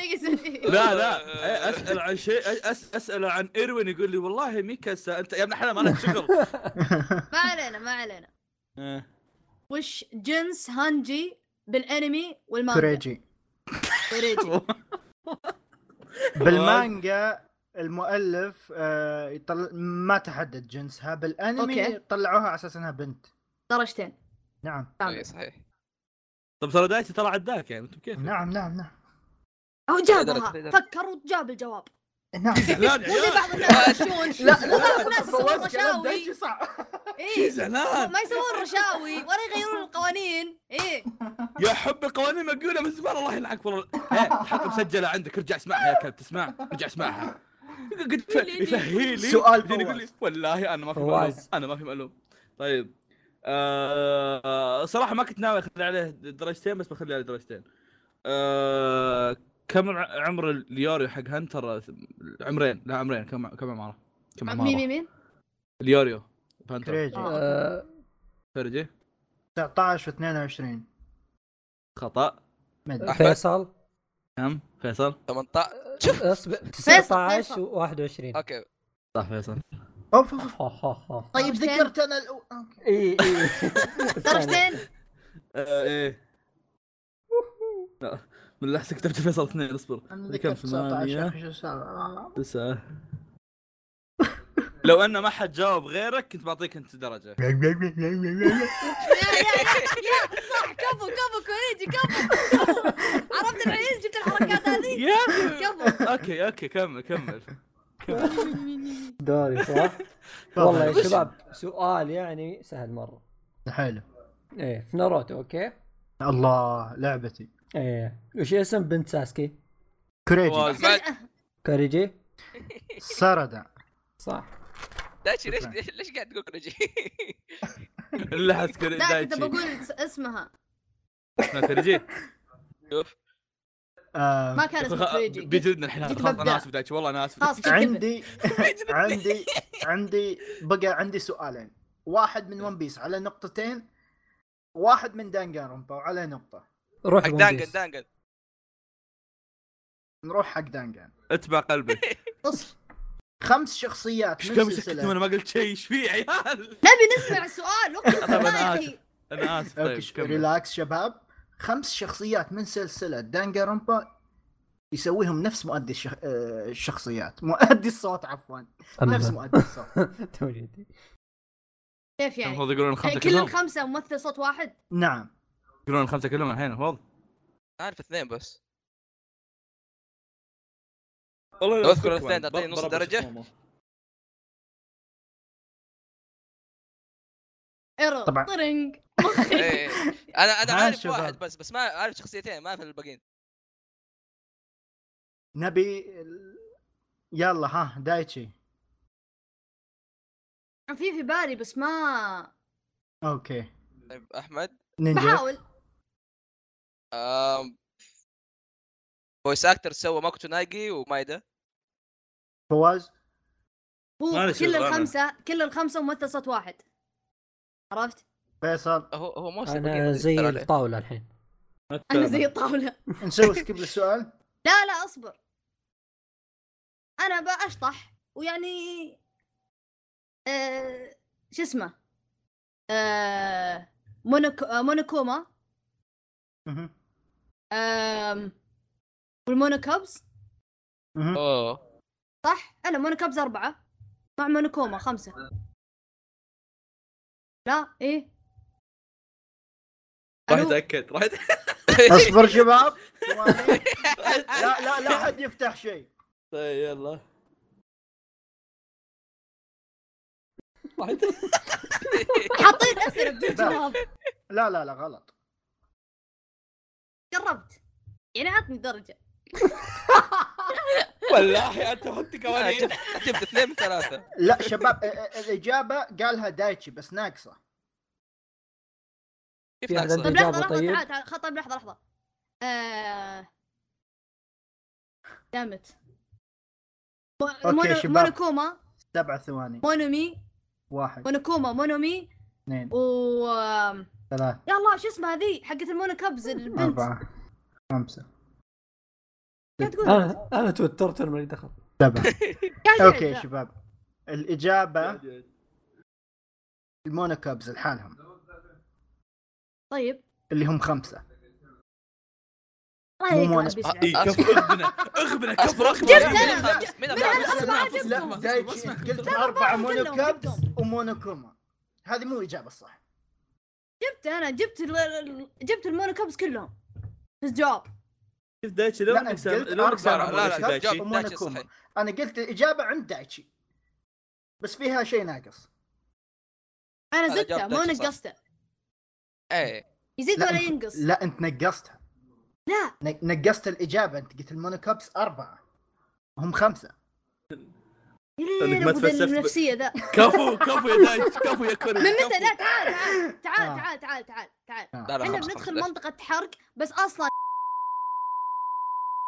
S2: لا لا إيه، اسال عن شيء أس- اسال عن ايروين يقول لي والله ميكاسا انت يا ابن الحلال ما لك [laughs] شغل
S6: ما علينا ما علينا وش جنس هانجي بالانمي والمانجا
S5: كوريجي
S6: كوريجي
S2: [laughs]
S5: بالمانجا المؤلف آه، يطل... ما تحدد جنسها بالانمي
S6: أوكي.
S5: طلعوها على اساس انها بنت
S6: درجتين
S5: نعم
S6: كامل.
S3: إيه، صحيح
S2: طب ترى دايتي طلع عداك يعني انتم كيف؟
S5: نعم نعم نعم
S6: هو
S3: درجة-
S6: جابها فكر وجاب الجواب
S5: نعم
S2: زعلان يا
S6: مو زي
S2: عيال
S6: بعض الناس يغشون لا بعض الناس يسوون
S5: فوزت كلام دايتشي
S6: رشاوي
S5: صعب
S2: شي
S6: ايه
S2: [laughs] زعلان
S6: ما يسوون رشاوي ولا يغيرون القوانين ايه
S2: يا حب القوانين مقوله من زمان الله يلعنك والله إيه، الحلقه مسجله عندك ارجع اسمعها يا كلب تسمع ارجع اسمعها قد يف- يفهي لي
S5: سؤال
S2: بعدين يقول لي
S5: فواز.
S2: والله انا ما في
S1: فواز.
S2: معلوم انا ما في معلوم طيب آه صراحه ما كنت ناوي اخلي عليه درجتين بس بخلي عليه درجتين آه كم ع- عمر اليوريو حق هنتر عمرين لا عمرين كم كم عمره كم
S6: مين مين
S2: عمره
S6: مين
S2: اليوريو في هنتر
S5: كوريجي
S6: آه.
S1: آه،
S2: فرجي
S5: 19 و22
S2: خطا
S5: مدري
S3: أحمد.
S1: فيصل
S2: كم نعم. فيصل
S1: إيه.
S3: 18
S1: اصبر 19
S6: فيصل.
S1: و21
S3: اوكي
S2: صح فيصل
S5: أوف، أوف، أوف. طيب
S6: درجتين.
S5: ذكرت انا الأو... أوكي.
S1: اي اي
S6: درجتين
S2: آه، ايه لا، من لحظة كتبت فيصل اثنين اصبر
S5: أنا
S2: كم
S5: ذكرت 19
S2: ثمانية؟
S5: أخي، شو السالفة؟
S6: [laughs]
S2: تسعة لو انه ما حد جاوب غيرك كنت بعطيك انت درجة
S6: يا يا يا- يا صح كفو كفو كوريجي كفو كفو. عرفت العيل جبت الحركات هذه
S2: يا
S6: كفو
S2: اوكي اوكي كمل كمل
S1: دوري صح؟ والله يا
S5: [laughs]
S1: شباب سؤال يعني سهل مره
S5: حلو
S1: ايه في ناروتو اوكي؟
S5: الله لعبتي
S1: ايه وش اسم بنت ساسكي؟
S5: كوريجي
S2: فواز.
S6: درجة-
S1: كاريجي؟
S5: سردا
S1: صح
S3: دايتشي ليش
S5: شكراً.
S3: ليش ليش قاعد تقول كوريجي؟ [laughs]
S2: اللي حسكري
S6: لا كنت
S2: دايتشي
S6: بقول اس- اسمها [laughs]
S2: كريجي
S5: آه،
S6: ما كان اسمها كوريجي
S2: بيجلدنا الحين
S6: جيت
S2: خلاص
S6: ببدأ.
S2: انا اسف دايتشي والله انا اسف
S6: خلاص
S5: عندي عندي عندي بقى عندي سؤالين واحد من ون بيس على نقطتين واحد من دانجارومبا على نقطة
S1: روح
S3: حق
S1: ون
S3: دانجن
S1: بيس.
S3: دانجن
S5: نروح حق دانجان
S2: اتبع
S6: [laughs]
S2: قلبك
S6: اصبر
S5: خمس شخصيات
S2: ايش
S5: من
S2: كم سكتتم
S5: سلسلة
S2: انا ما قلت شيء ايش في يا عيال
S6: نبي نسمع السؤال وقت
S2: طيب، أنا
S6: ما يحكي
S2: انا
S6: [laughs]
S2: اسف
S5: أوكي،
S2: طيب
S5: ش-
S2: كمل
S5: ريلاكس شباب خمس شخصيات من سلسلة دانجارومبا يسويهم نفس مؤدي الشخ... آه، الشخصيات مؤدي الصوت عفوا نفس
S1: أما.
S5: مؤدي الصوت
S2: [laughs]
S1: توني أدري.
S6: كيف يعني
S2: المفروض يقولون الخمسة
S6: كل
S2: كلهم
S6: الخمسه ممثل صوت واحد
S5: نعم
S2: يقولون الخمسة كلهم الحين المفروض
S3: عارف اثنين بس
S2: والله
S3: لو أذكر الاثنين تعطيني نص درجة؟
S6: ايرو
S5: طبعاً.
S6: طرنج
S3: إيه. انا انا
S5: ها
S3: عارف
S5: شباب.
S3: واحد بس بس ما عارف شخصيتين ما اعرف الباقيين
S5: نبي ال- يلا ها دايتشي
S6: كان في في بالي بس ما
S5: اوكي
S3: طيب احمد
S5: نينجا
S6: بحاول
S3: آم، فويس اكتر سوى ماكوتو نايجي ومايدا
S5: فواز
S6: هو
S2: معلش يا
S6: كل
S2: زلمة.
S6: الخمسه كل الخمسه ممثل صوت واحد عرفت
S5: فيصل
S3: هو هو مو
S1: انا زي الطاوله الحين
S6: انا زي الطاوله
S5: نسوي سكيب للسؤال
S6: لا لا اصبر انا بأشطح ويعني آه... شو اسمه آه... مونوك... آه، مونوكوما
S5: مهم.
S6: آه... والمونوكابز
S5: مهم.
S3: اوه
S6: صح انا مونوكابز اربعه مع مونوكوما خمسة لا ايه
S2: راح
S6: ألو؟
S2: يتاكد راح يتاكد
S5: [laughs] اصبر شباب ثواني. لا لا لا حد يفتح شيء
S2: طيب يلا راح يتاكد
S6: حاطين اسئله بدون جواب
S5: لا لا لا غلط
S6: قربت يعني عطني درجه
S2: والله انت حط
S3: لا،
S2: قوانين
S3: جبت- جبت اثنين من ثلاثه
S5: لا شباب ا- ا- الاجابه قالها دايتشي بس ناقصه
S3: كيف
S1: في أحد
S3: ناقصة؟
S6: طب
S1: الإجابة
S6: لحظه لحظه
S1: طيب.
S6: تعال تعال خ- طيب لحظه لحظه آه... دامت مو-
S5: أوكي،
S6: مونو-
S5: شباب.
S6: مونوكوما
S5: سبع ثواني
S6: مونومي
S5: واحد
S6: مونوكوما مونومي
S5: اثنين
S6: و آم،
S5: ثلاث
S6: يا الله شو اسمها ذي حقت المونوكبز البنت
S5: أربعة خمسة
S6: قاعد تقول
S1: انا انا توترت أنا مالي دخل
S5: سبعة
S6: قاعد- قاعد-
S5: اوكي شباب الإجابة المونوكابز لحالهم
S6: طيب
S5: اللي هم خمسة
S6: الله
S5: مو
S6: يقرأ
S5: مونس-
S6: باسمها.
S2: اي كف اغبنا اغبنا كف
S3: اصبر
S2: رقم
S3: اصبر
S6: جبت
S3: مين
S6: أنا.
S3: الخامس؟ مين
S6: من
S3: الخامس؟
S6: الأربعة
S3: أسمع،
S6: جبت.
S2: أسمع،
S5: لا
S2: أسمع،
S5: دايتشي
S2: أسمع،
S5: قلت
S6: أربعة
S5: أربعة
S6: كلهم،
S5: مونوكابز
S6: كلهم.
S5: ومونوكوما هذه مو الإجابة الصح
S6: جبت انا جبت ال- ال- جبت المونوكبس كلهم بس جواب
S2: شوف دايتشي لو
S5: لا
S2: انك
S5: أنت
S2: سام-
S5: قلت
S2: لو انك
S3: سامع
S5: أربعة
S3: لا،
S2: سامع
S3: لا،
S5: مونوكابز
S3: دايتشي. دايتشي
S5: ومونوكوما أنا قلت الإجابة عند دايتشي بس فيها شيء ناقص
S6: انا
S3: أنا
S6: زدته
S3: جاوبت
S6: ما
S3: أنت صح.
S6: نقصته
S3: ايه
S6: يزيد
S5: لا
S6: ولا
S5: أنت-
S6: ينقص
S5: لا أنت نقصتها
S6: لا
S5: نق- نقصت الإجابة أنت قلت المونوكابز أربعة هم خمسة
S2: إنك
S6: إيه،
S2: ما
S6: أبو ذا
S2: تفلسفت.
S6: النفسيه
S3: [laughs]
S6: ذا
S2: كفو كفو يا دايتشي كفو يا كوري
S6: من متى لا تعال تعال
S5: آه.
S6: تعال تعال تعال تعال تعال
S3: لا لا
S6: احنا
S3: خلاص،
S6: بندخل
S3: خلاص.
S6: منطقه حرق بس اصلا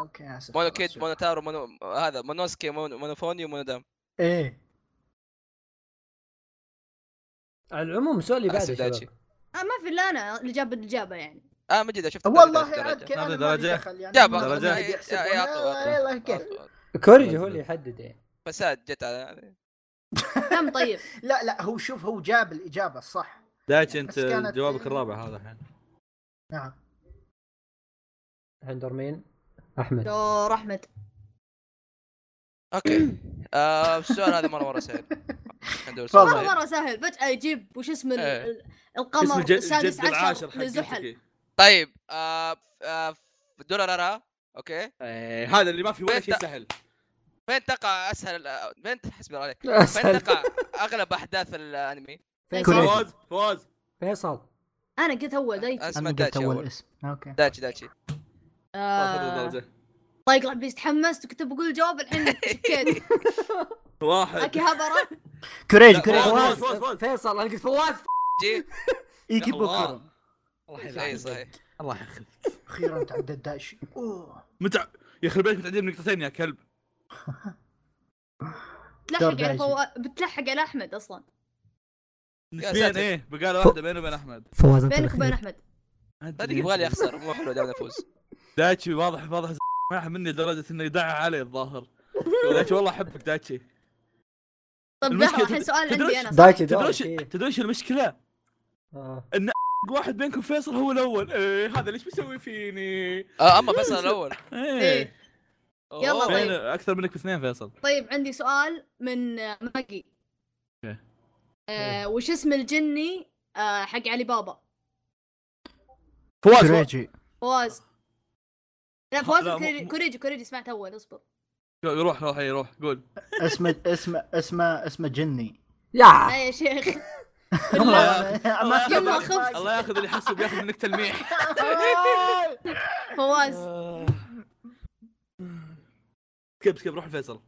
S5: أوكي آسف
S3: مونو
S5: خلاص،
S3: كيد
S5: شكراً.
S3: مونو تارو مونو هذا مونوسكي مونو مونوفوني ومونودام
S5: إيه
S1: على العموم سؤالي بعد
S3: آسف
S1: يا
S3: دايتشي.
S1: شباب
S6: آه ما في الا انا اللي جاب الاجابه يعني
S3: اه من جد شفت
S5: والله عاد
S3: كيف
S5: كأنه
S2: هذا
S5: ما لي
S2: درجة.
S5: دخل يعني
S3: جابها
S5: ما- ما
S2: درجة.
S5: أدري أحسب
S3: يا- يا
S5: ولا-
S3: عطوا، عطوا.
S5: يلا كيف
S1: كوريجي هو اللي يحدد يعني
S3: فساد جت على
S6: كم طيب
S5: لا لا هو شوف هو جاب الاجابه الصح
S2: دايتشي انت
S5: بس كانت-
S2: جوابك الرابع هذا الحين
S5: نعم
S1: عند مين؟ احمد
S6: دور احمد
S5: [coughs]
S3: اوكي آه، السؤال هذا مره مره
S5: [laughs]
S3: سهل عندنا سؤال
S5: تفضل.
S6: مره
S3: طيب.
S6: مره سهل فجاه يجيب وش اسم ال-
S3: إيه.
S6: ال-
S2: اسم
S6: القمر
S2: جد
S6: السادس
S2: جد العاشر
S6: عشر
S2: حق
S6: للزحل
S2: جدتك.
S3: طيب آه، آه، دولارارا اوكي
S2: إيه، هذا اللي ما في ولا شيء سهل
S3: فين تقع اسهل آه، فين حسبي الله عليك فين
S1: اسهل
S3: تقع اغلب احداث الانمي
S1: كوريجي.
S2: فواز فواز
S1: فيصل
S6: انا إيه، قلت اول دايتشي
S3: اسمه دايتشي اول
S5: اسم اوكي
S3: دايتشي دايتشي
S2: واحد
S6: آه...
S2: درجة.
S6: طيب يقلع بيس تحمست وكنت بقول جواب الحين شكيت
S2: واحد
S6: اكي هبره
S5: كوريج
S3: لا،
S5: كوريج
S2: فواز،
S1: فواز
S5: فواز
S2: فواز، فواز.
S1: فيصل انا قلت فواز
S3: جي
S5: ايكي
S2: الله.
S5: بوكورا
S2: الله
S3: اي
S2: يلعنك.
S3: صحيح
S2: الله يخليك
S5: اخيرا تعدد دايتشي اوه
S2: متع يخرب بيتك متعدين نقطتين يا كلب
S5: دور
S6: بتلحق على
S5: دايتشي.
S6: فوا... بتلحق على احمد اصلا
S2: نسبيا
S3: ساتر.
S2: ايه بقاله واحده بيني وبين احمد
S4: فواز انت
S6: بينك وبين
S4: الأخير.
S6: احمد
S3: صدق يبغى لي اخسر مو حلو دائما افوز
S2: دايتشي واضح واضح ز- [laughs] ما أحب مني لدرجه انه يدعى علي الظاهر دايتشي والله احبك دايتشي
S6: طب
S2: المشكلة
S6: لحظه الحين
S2: تد-
S6: سؤال
S2: تدرس-
S6: عندي انا صح؟
S1: دايتشي
S2: تدرون
S1: دورك
S2: شو-
S1: إيه.
S2: تدرون شو المشكله؟
S1: آه.
S2: واحد بينكم فيصل هو الاول إيه هذا ليش بيسوي فيني؟
S3: آه، [laughs] اما فيصل الاول
S6: إيه. يلا
S3: أوه.
S6: طيب.
S2: بين اكثر منك باثنين فيصل
S6: طيب عندي سؤال من ماجي
S2: أوكي. إيه.
S6: آه وش اسم الجني آه حق علي بابا
S2: فواز فواز.
S5: كوريجي
S6: فواز لا
S2: آه. لا،
S6: فواز
S2: مو-
S6: كوريجي-
S2: مو-
S6: كوريجي كوريجي سمعت اول اصبر
S2: روح روح اي روح قول
S5: اسمه اسمه اسمه اسمه جني
S6: لا
S1: يا
S6: يا
S2: [laughs]
S6: شيخ
S2: الله
S6: بالله.
S2: ياخذ
S5: ما أدري.
S6: يلا خف.
S2: الله ياخذ اللي يحسب ياخذ منك تلميح
S6: فواز
S2: كب كب روح فيصل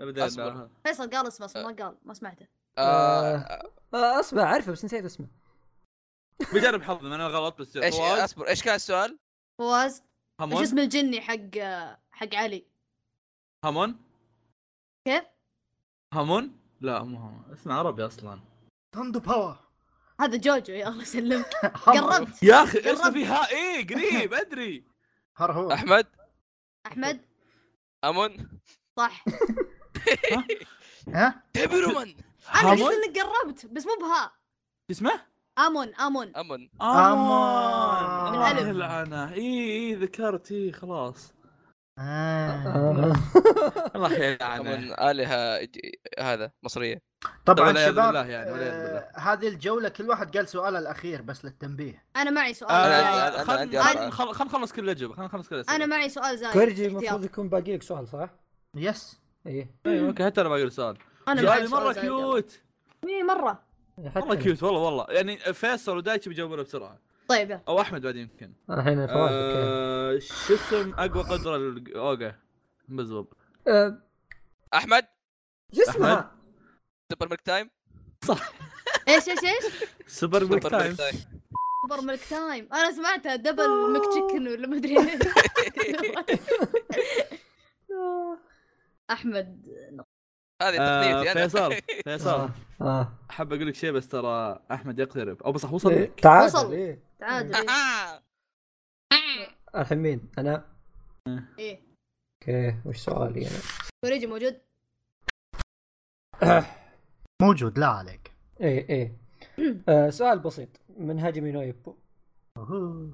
S2: ابدا
S3: أصبر.
S6: فيصل قال اسمه اصلا ما قال ما سمعته
S3: آه،
S1: آه، اسمع اعرفه بس نسيت اسمه
S2: بجرب حظي انا غلط بس
S3: ايش
S2: فواز
S3: اصبر ايش كان السؤال؟
S6: فواز وش
S2: همون
S6: اسم الجني حق آه، حق علي
S2: همون
S6: كيف؟
S2: همون لا مو همون اسمه عربي اصلا
S5: ثندر باور
S6: هذا جوجو يا
S2: [laughs]
S6: الله يسلمك قربت
S2: يا اخي اسمه
S6: قربت.
S2: في ها ايه قريب ادري
S5: هرهور
S3: احمد
S6: احمد
S3: امون
S6: صح
S5: ها
S3: تبرمن
S6: انا
S2: همون؟
S6: قلت انك قربت بس مو بها
S2: اسمه؟
S6: امون امون
S3: امون
S5: آمان.
S2: الله
S6: بالألف.
S2: يلعنه اي اي ذكرت اي خلاص
S5: آه.
S1: آه.
S2: والله الله يلعنه
S3: من آلهة إج- هذا مصرية
S2: طبعاً
S5: طبعا
S2: والعياذ
S5: شباب
S2: بالله يعني، والعياذ بالله.
S5: آه، هذه الجوله كل واحد قال سؤاله الاخير بس للتنبيه
S6: انا معي سؤال
S3: أنا-
S6: زايد
S3: أنا-
S2: آه،
S3: أنا عندي
S2: خل-
S3: أربعة.
S2: خل- خل نخلص كل الاجوبه خل نخلص كل الأسئلة.
S6: انا معي سؤال زايد
S1: كورجي
S6: احتياط.
S1: المفروض يكون باقي لك سؤال صح؟
S5: يس
S1: ايه
S2: أيوة، اوكي حتى انا باقي سؤال
S6: انا معي
S2: سؤالي
S6: سؤال
S2: مره
S6: زايد.
S2: كيوت
S6: إيه، مره
S1: حتى
S2: والله
S1: أنا.
S2: كيوت والله والله يعني فيصل ودايتشي بيجاوبونه بسرعه
S6: طيب يلا.
S2: او احمد بعدين يمكن
S1: الحين فواز اوكي
S2: آه، شو اسم اقوى قدره الاوجا بالضبط
S1: آه،
S3: أحمد
S1: شو اسمها؟
S3: سوبر ميلك تايم
S6: ايش ايش ايش؟
S2: سوبر ميك
S3: سوبر
S2: تايم
S3: ميلك تايم
S6: سوبر ميلك تايم انا سمعتها دبل ميك تشيكن ولا مدري
S1: آه.
S6: احمد
S3: هذه
S2: آه،
S3: تقنيتي أنا [laughs]
S2: فيصل فيصل
S1: آه، آه.
S2: حاب اقول لك شيء بس ترى احمد يقترب او بس وصل لك
S1: تعادل
S6: وصل.
S1: ايه
S6: تعادل إيه.
S3: آه.
S1: الحين مين؟ انا
S6: ايه
S1: اوكي وش سؤالي انا؟
S6: كوريجي موجود [laughs]
S1: [coughs]
S5: موجود لا عليك
S1: ايه ايه [coughs] آه سؤال بسيط من هاجمي نو ايبو
S5: أوهو.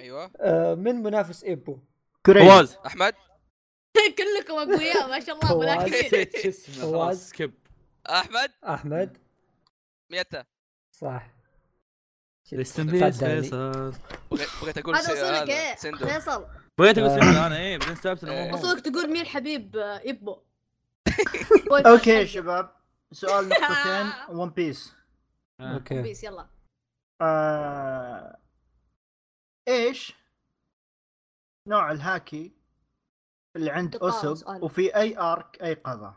S3: ايوه
S1: آه من منافس ايبو؟
S5: كوريجي.
S2: فواز
S3: احمد
S6: كلكم اقوياء ما شاء الله
S1: فواز.
S6: ملاكمين
S2: نسيت [laughs] شو اسمه
S1: [laughs]
S2: خلاص
S1: فواز.
S2: سكيب
S3: احمد
S1: احمد
S3: ميتا
S1: صح شت.
S2: ريست ان بيس
S1: صدقني.
S2: فيصل
S3: بغيت- بغيت اقول
S6: هذا
S3: سي-
S6: وصولك ايه
S3: سندو
S6: فيصل
S2: بغيت اقول
S1: آه.
S2: سندو انا ايه بعدين استوعبت انه مو هو.
S6: وصولك تقول مين حبيب آه، يبو
S5: اوكي يا شباب
S6: [laughs]
S5: سؤال نقطتين ون بيس
S2: آه.
S1: اوكي
S6: بيس يلا
S5: آه... ايش نوع الهاكي اللي عند
S6: دقارة
S5: اسب
S6: سؤال.
S5: وفي اي ارك اي قضاء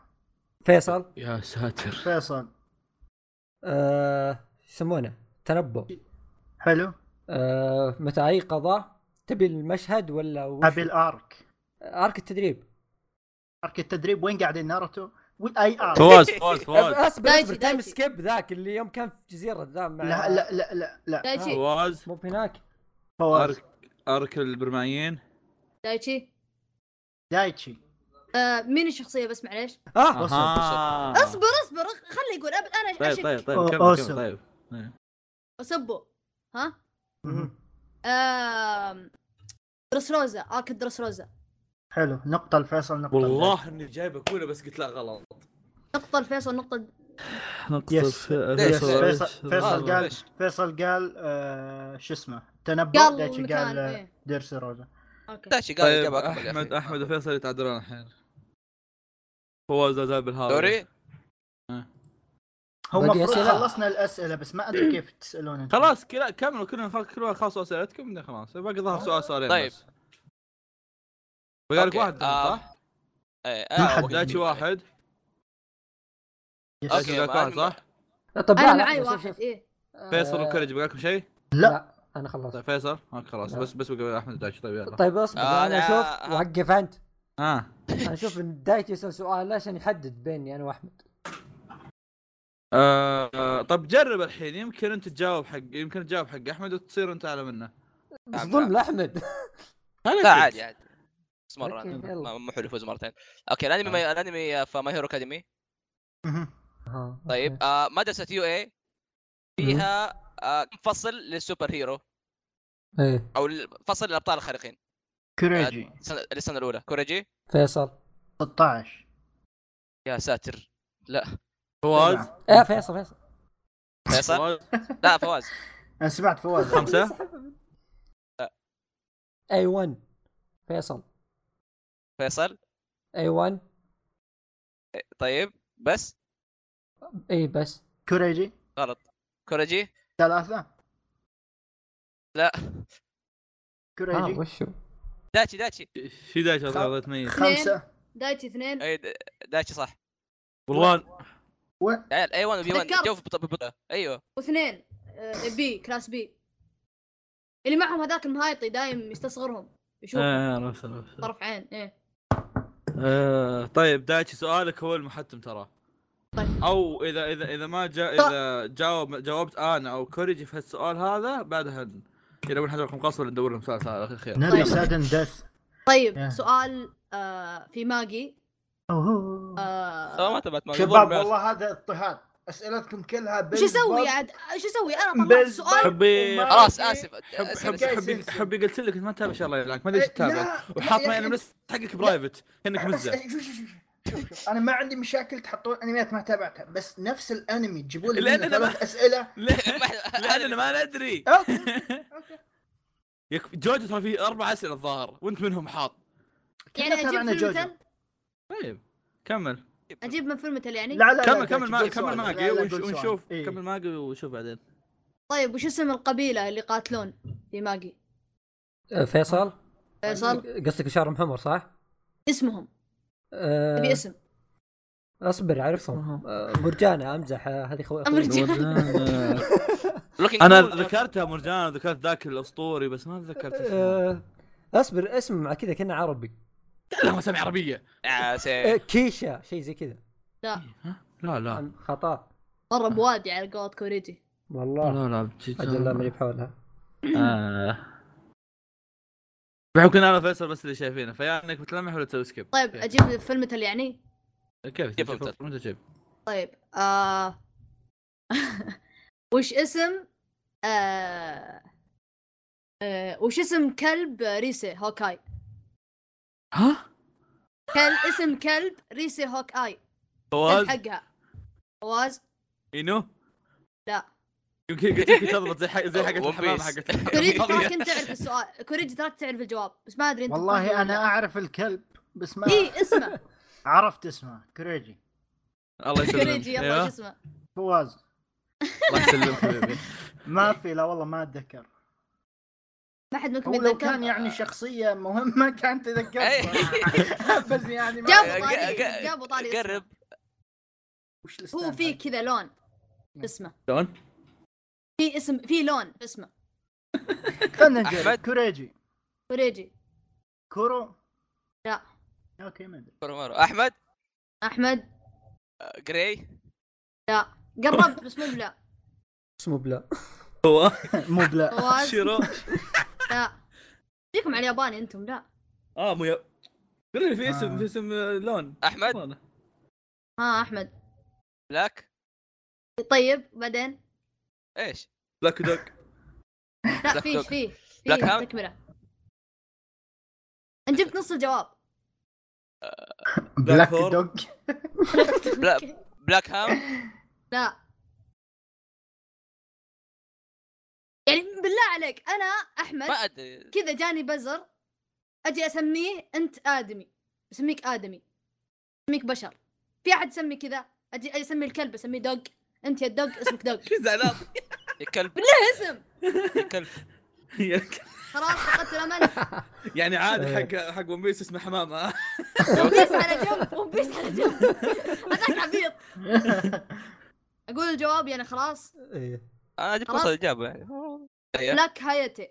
S1: فيصل
S2: يا ساتر
S5: فيصل
S1: آه شو يسمونه؟ تنبؤ
S5: حلو
S1: آه متى اي قضاء تبي المشهد ولا وش؟
S5: ابي الارك
S1: ارك التدريب
S5: ارك التدريب وين قاعدين ناروتو واي ارك
S2: فواز فواز فواز
S1: اصبر
S6: دايتشي،
S1: اصبر تايم
S6: دايتشي.
S1: سكيب ذاك اللي يوم كان في جزيره ذا مع
S5: لا لا لا لا لا
S6: دايتشي
S2: فواز
S1: مو هناك
S5: فواز
S2: ارك ارك البرمائيين
S6: دايتشي
S5: دايتشي
S6: آه، مين الشخصية بس معليش
S1: اه
S5: وصل،
S2: أها.
S6: اصبر اصبر أخ- خلي يقول أب- انا
S2: طيب طيب
S6: اشك
S2: طيب كمل
S5: أوسم.
S2: كمل طيب
S6: اسبه ها
S5: مهم.
S6: آم، آه، درسروزا ارك درسروزا
S5: حلو نقطة لفيصل نقطة
S2: والله اني جايبه كولا بس قلت لا غلط
S6: نقطة الفيصل نقطة
S5: يس.
S3: ليش؟
S5: فيصل فيصل, فيصل
S3: آه،
S5: قال
S3: ليش؟
S5: فيصل قال آه شو اسمه تنبؤ
S6: قال
S5: دايتشي
S6: مكان
S5: قال آه،
S6: إيه.
S5: ديرسي روزا
S6: اوكي
S3: داشي قال
S2: طيب
S3: إجابة أكمل يا
S2: احمد
S3: أخي.
S2: احمد وفيصل يتعادلون الحين فواز لا زال بالهاوي
S3: دوري
S5: هو
S1: باقي
S5: المفروض
S1: أسئلة؟
S5: خلصنا الأسئلة بس ما أدري كيف تسألون انتم.
S2: خلاص كلا كملوا كلنا خل- كل واحد خلصوا اسئلتكم بعدين خلاص باقي ظهر سؤال سؤالين
S3: طيب.
S2: بس. بقى لك
S3: أوكي،
S2: واحد
S3: آه،
S2: صح؟
S3: ايه
S5: ما
S3: آه،
S5: حد
S3: وقت-
S2: دايتشي واحد
S5: يس.
S2: دايتشي بقى
S3: أوكي.
S2: لك واحد صح؟
S1: طب لا،
S6: انا
S1: لا،
S6: معي
S1: شوف،
S6: واحد
S1: شوف. آه،
S6: ايه
S2: فيصل وكوريج بقى لكم شيء؟
S5: لا
S1: انا خلصت
S2: طيب فيصل اوكي خلاص
S1: لا.
S2: بس بس بقى احمد دايتشي طيب يلا
S1: طيب اصبر
S3: آه،
S1: انا
S3: لا.
S1: اشوف وقف انت
S2: ها
S1: انا اشوف ان دايت يسال سؤال عشان يحدد بيني انا واحمد
S2: آه، آه، طب جرب الحين يمكن انت تجاوب حق يمكن تجاوب حق احمد وتصير انت اعلى منه
S1: بس
S3: نعم،
S1: ظلم
S3: نعم.
S1: لاحمد
S3: لا عادي عادي بس مرة
S1: أوكي،
S3: أنا.
S1: يلا.
S3: ما- مو حلو يفوز مرتين اوكي الانمي ما- الانمي فما هيرو اكاديمي
S5: مهم.
S1: آه، أوكي.
S3: طيب آه، مدرسة يو اي فيها آه، فصل للسوبر هيرو
S1: ايه
S3: او ال- فصل الابطال الخارقين آه،
S5: كوريجي
S3: السنة- السنة الاولى كوريجي
S1: فيصل
S5: 16
S3: يا ساتر
S1: [laughs]
S2: فواز
S1: ايه فيصل فيصل
S3: فيصل
S2: فواز
S3: لا فواز
S5: أنا سمعت فواز
S2: خمسة
S1: اي 1 فيصل
S3: فيصل
S1: اي 1
S3: طيب بس
S1: اي إيه، بس
S5: كوريجي
S3: غلط كوريجي
S5: ثلاثة
S3: لا
S1: اه
S5: كوريجي
S1: وشو
S3: داتشي داتشي
S2: في دايتشي غلط ميت
S5: خمسة
S6: دايتشي اثنين
S3: اي د- داتشي صح
S2: والله
S5: و...
S3: عيال اي 1 بي 1
S6: تذكرت.
S3: جو في بطء- ببطء ايوه
S6: واثنين آه، بي كلاس بي اللي معهم هذاك المهايطي دايم يستصغرهم يشوف
S2: آه، عرفت، عرفت.
S6: طرف عين ايه
S2: آه، طيب دايتشي سؤالك هو المحتم ترى
S6: طيب.
S2: او اذا اذا اذا ما جا
S5: طيب.
S2: اذا جاوب جاوبت انا او كوريجي في هالسؤال هذا بعدها ن- يلا بنحط لكم قصر ندور لهم سؤال سؤال خير
S5: نبي
S6: طيب.
S5: سادن ديث
S6: طيب
S5: يا.
S6: سؤال آه، في ماجي
S5: أوهو.
S6: آه،
S3: سواء ما تبعت ما
S1: آه،
S5: شباب والله هذا اضطهاد اسئلتكم كلها
S6: وش يعني؟ اسوي عاد ايش اسوي انا طلعت
S5: بالضبط.
S6: سؤال
S2: حبي
S3: خلاص اسف
S2: حب
S3: اسف
S2: حب
S5: جاي
S3: [laughs]
S2: حبي
S5: سلسلة.
S2: حبي قلت لك ما تتابع الله يلعنك ما ادري
S5: إيه،
S2: ايش تتابع
S5: لا،
S2: وحاط
S5: لا،
S2: ما
S5: يا
S2: انا
S5: أخي.
S2: بس حقك برايفت كانك
S5: بس
S2: مزه
S5: شوف شوف شوف شوف شوف. انا ما عندي مشاكل تحطون انميات ما تابعتها بس نفس الانمي تجيبوا لي
S2: لأن
S5: منه
S2: أنا ما-
S5: ثلاث اسئله
S2: لا- لان انا ما ندري
S5: [laughs] أوكي.
S2: يكفي جوجو ترى فيه اربع اسئله الظاهر وانت منهم حاط
S6: يعني
S5: كلنا تابعنا
S6: اجيب فيلم
S5: جوجو.
S6: مثل
S2: طيب كمل
S6: اجيب من فيلم مثل يعني
S5: لا لا
S2: كمل كمل ما كمل
S5: ماجي
S2: ماجي ونش- ونشوف
S5: إيه.
S2: كمل ماجي وشوف [laughs] بعدين
S6: طيب وش اسم القبيله اللي يقاتلون في ماجي
S1: آه، فيصل
S6: فيصل
S1: قصدك شعرهم حمر صح؟
S6: اسمهم
S1: آه،
S6: ابي اسم
S1: اصبر اعرفهم آه، مرجانه امزح آه، هذه خو... أخوي.
S6: مرجانة.
S2: انا ذكرتها مرجان ذكرت ذاك الاسطوري بس ما ذكرت [laughs] اسمه
S1: آه، اصبر اسم مع كذا كنا عربي
S2: لا ما سمع عربيه
S1: آه،
S3: اسف
S1: كيشا شيء زي كذا
S2: لا لا
S1: عن خطا
S6: مره
S2: آه.
S6: بوادي على قولة كوريجي
S1: والله
S2: لا لا آه.
S1: اجل لا ماني بحولها
S2: بحكم إن انا وفيصل بس اللي شايفينه فيا انك بتلمح ولا تسوي سكيب
S6: طيب
S2: كيف-
S6: اجيب فيلم مثل يعني
S2: كيف تجيب؟
S3: كيف أبدأ؟
S2: متى تجيب؟
S6: طيب آه... [laughs] وش اسم آه... آه... وش اسم كلب ريسي هوكاي
S2: ها؟
S6: كلب اسم كلب ريسي هوك اي
S2: فواز
S6: كلب حقها فواز
S2: اينو [laughs]
S6: لا
S2: يمكن قلت يمكن تضبط زي حق زي حقت
S3: One
S2: الحمام
S3: Piece.
S2: حقت
S6: كوريجي
S2: الحمام.
S6: ترى كنت تعرف السؤال كوريجي ترى تعرف الجواب بس ما ادري انت
S5: والله انا اعرف الكلب بس ما
S6: اي إيه،
S2: [laughs]
S6: اسمه
S5: عرفت اسمه كريجي
S2: الله يسلمك
S6: كوريجي يلا
S2: أيوه.
S6: شو اسمه
S5: فواز
S2: الله يسلمك حبيبي إيه.
S5: ما في لا والله ما اتذكر
S6: ما حد منكم
S5: هو لو كان
S6: يتذكر
S5: يعني شخصيه مهمه كان
S3: إيه.
S5: تذكرت [laughs] بس يعني ما
S6: جابوا
S3: ق-
S6: طاري
S3: ق-
S6: جابوا طاري اسمه.
S3: قرب
S5: وش
S6: هو
S5: الستاند
S6: في
S5: هذا؟
S6: كذا لون
S5: إيه.
S6: اسمه
S2: شلون؟
S6: في اسم في لون اسمه
S5: خلنا نجرب
S3: أحمد.
S5: كوريجي
S6: كوريجي
S5: كورو
S6: لا.
S5: اوكي ما ادري
S3: كورمورو احمد
S6: احمد
S3: آه، جراي
S6: قربت بس مو بلا
S1: اسمه بلا
S2: هو
S5: مو بلا
S2: [laughs]
S6: فواز
S2: [laughs] شيرو
S6: لا فيكم على الياباني انتم لا
S2: اه مو يا- قل لي في اسم
S5: آه.
S2: في اسم آه، لون
S3: احمد
S6: ها احمد
S3: بلاك
S6: طيب بعدين
S3: ايش
S2: بلاك [laughs] دوك
S6: لا
S3: بلاك
S6: في
S3: دوغ.
S6: في في
S3: بلاك هام؟
S6: تكمله انت جبت نص الجواب
S2: بلاك
S5: بلاك
S2: هور.
S5: دوج
S6: [laughs]
S3: بلا- بلاك هام
S6: لا يعني بالله عليك انا
S3: ما
S6: احمد
S3: ادري
S6: كذا جاني بزر اجي اسميه انت ادمي اسميك ادمي اسميك بشر في احد يسمي كذا اجي أجي اسمي الكلب اسميه دوج انت يا دوج اسمك
S2: [laughs]
S6: دوج
S2: شو زعلان
S3: يا كلب
S6: اسم
S3: يا كلب
S6: خلاص فقدت الامل
S2: يعني عادي حق حق ون بيس اسمه حمام [laughs] ها
S6: ون بيس على جنب ون بيس على جنب [laughs] هذاك عبيط اقول الجواب يعني خلاص
S1: إيه.
S3: انا جبت
S6: خلاص.
S3: وصل الاجابه يعني يا.
S6: بلاك هايتي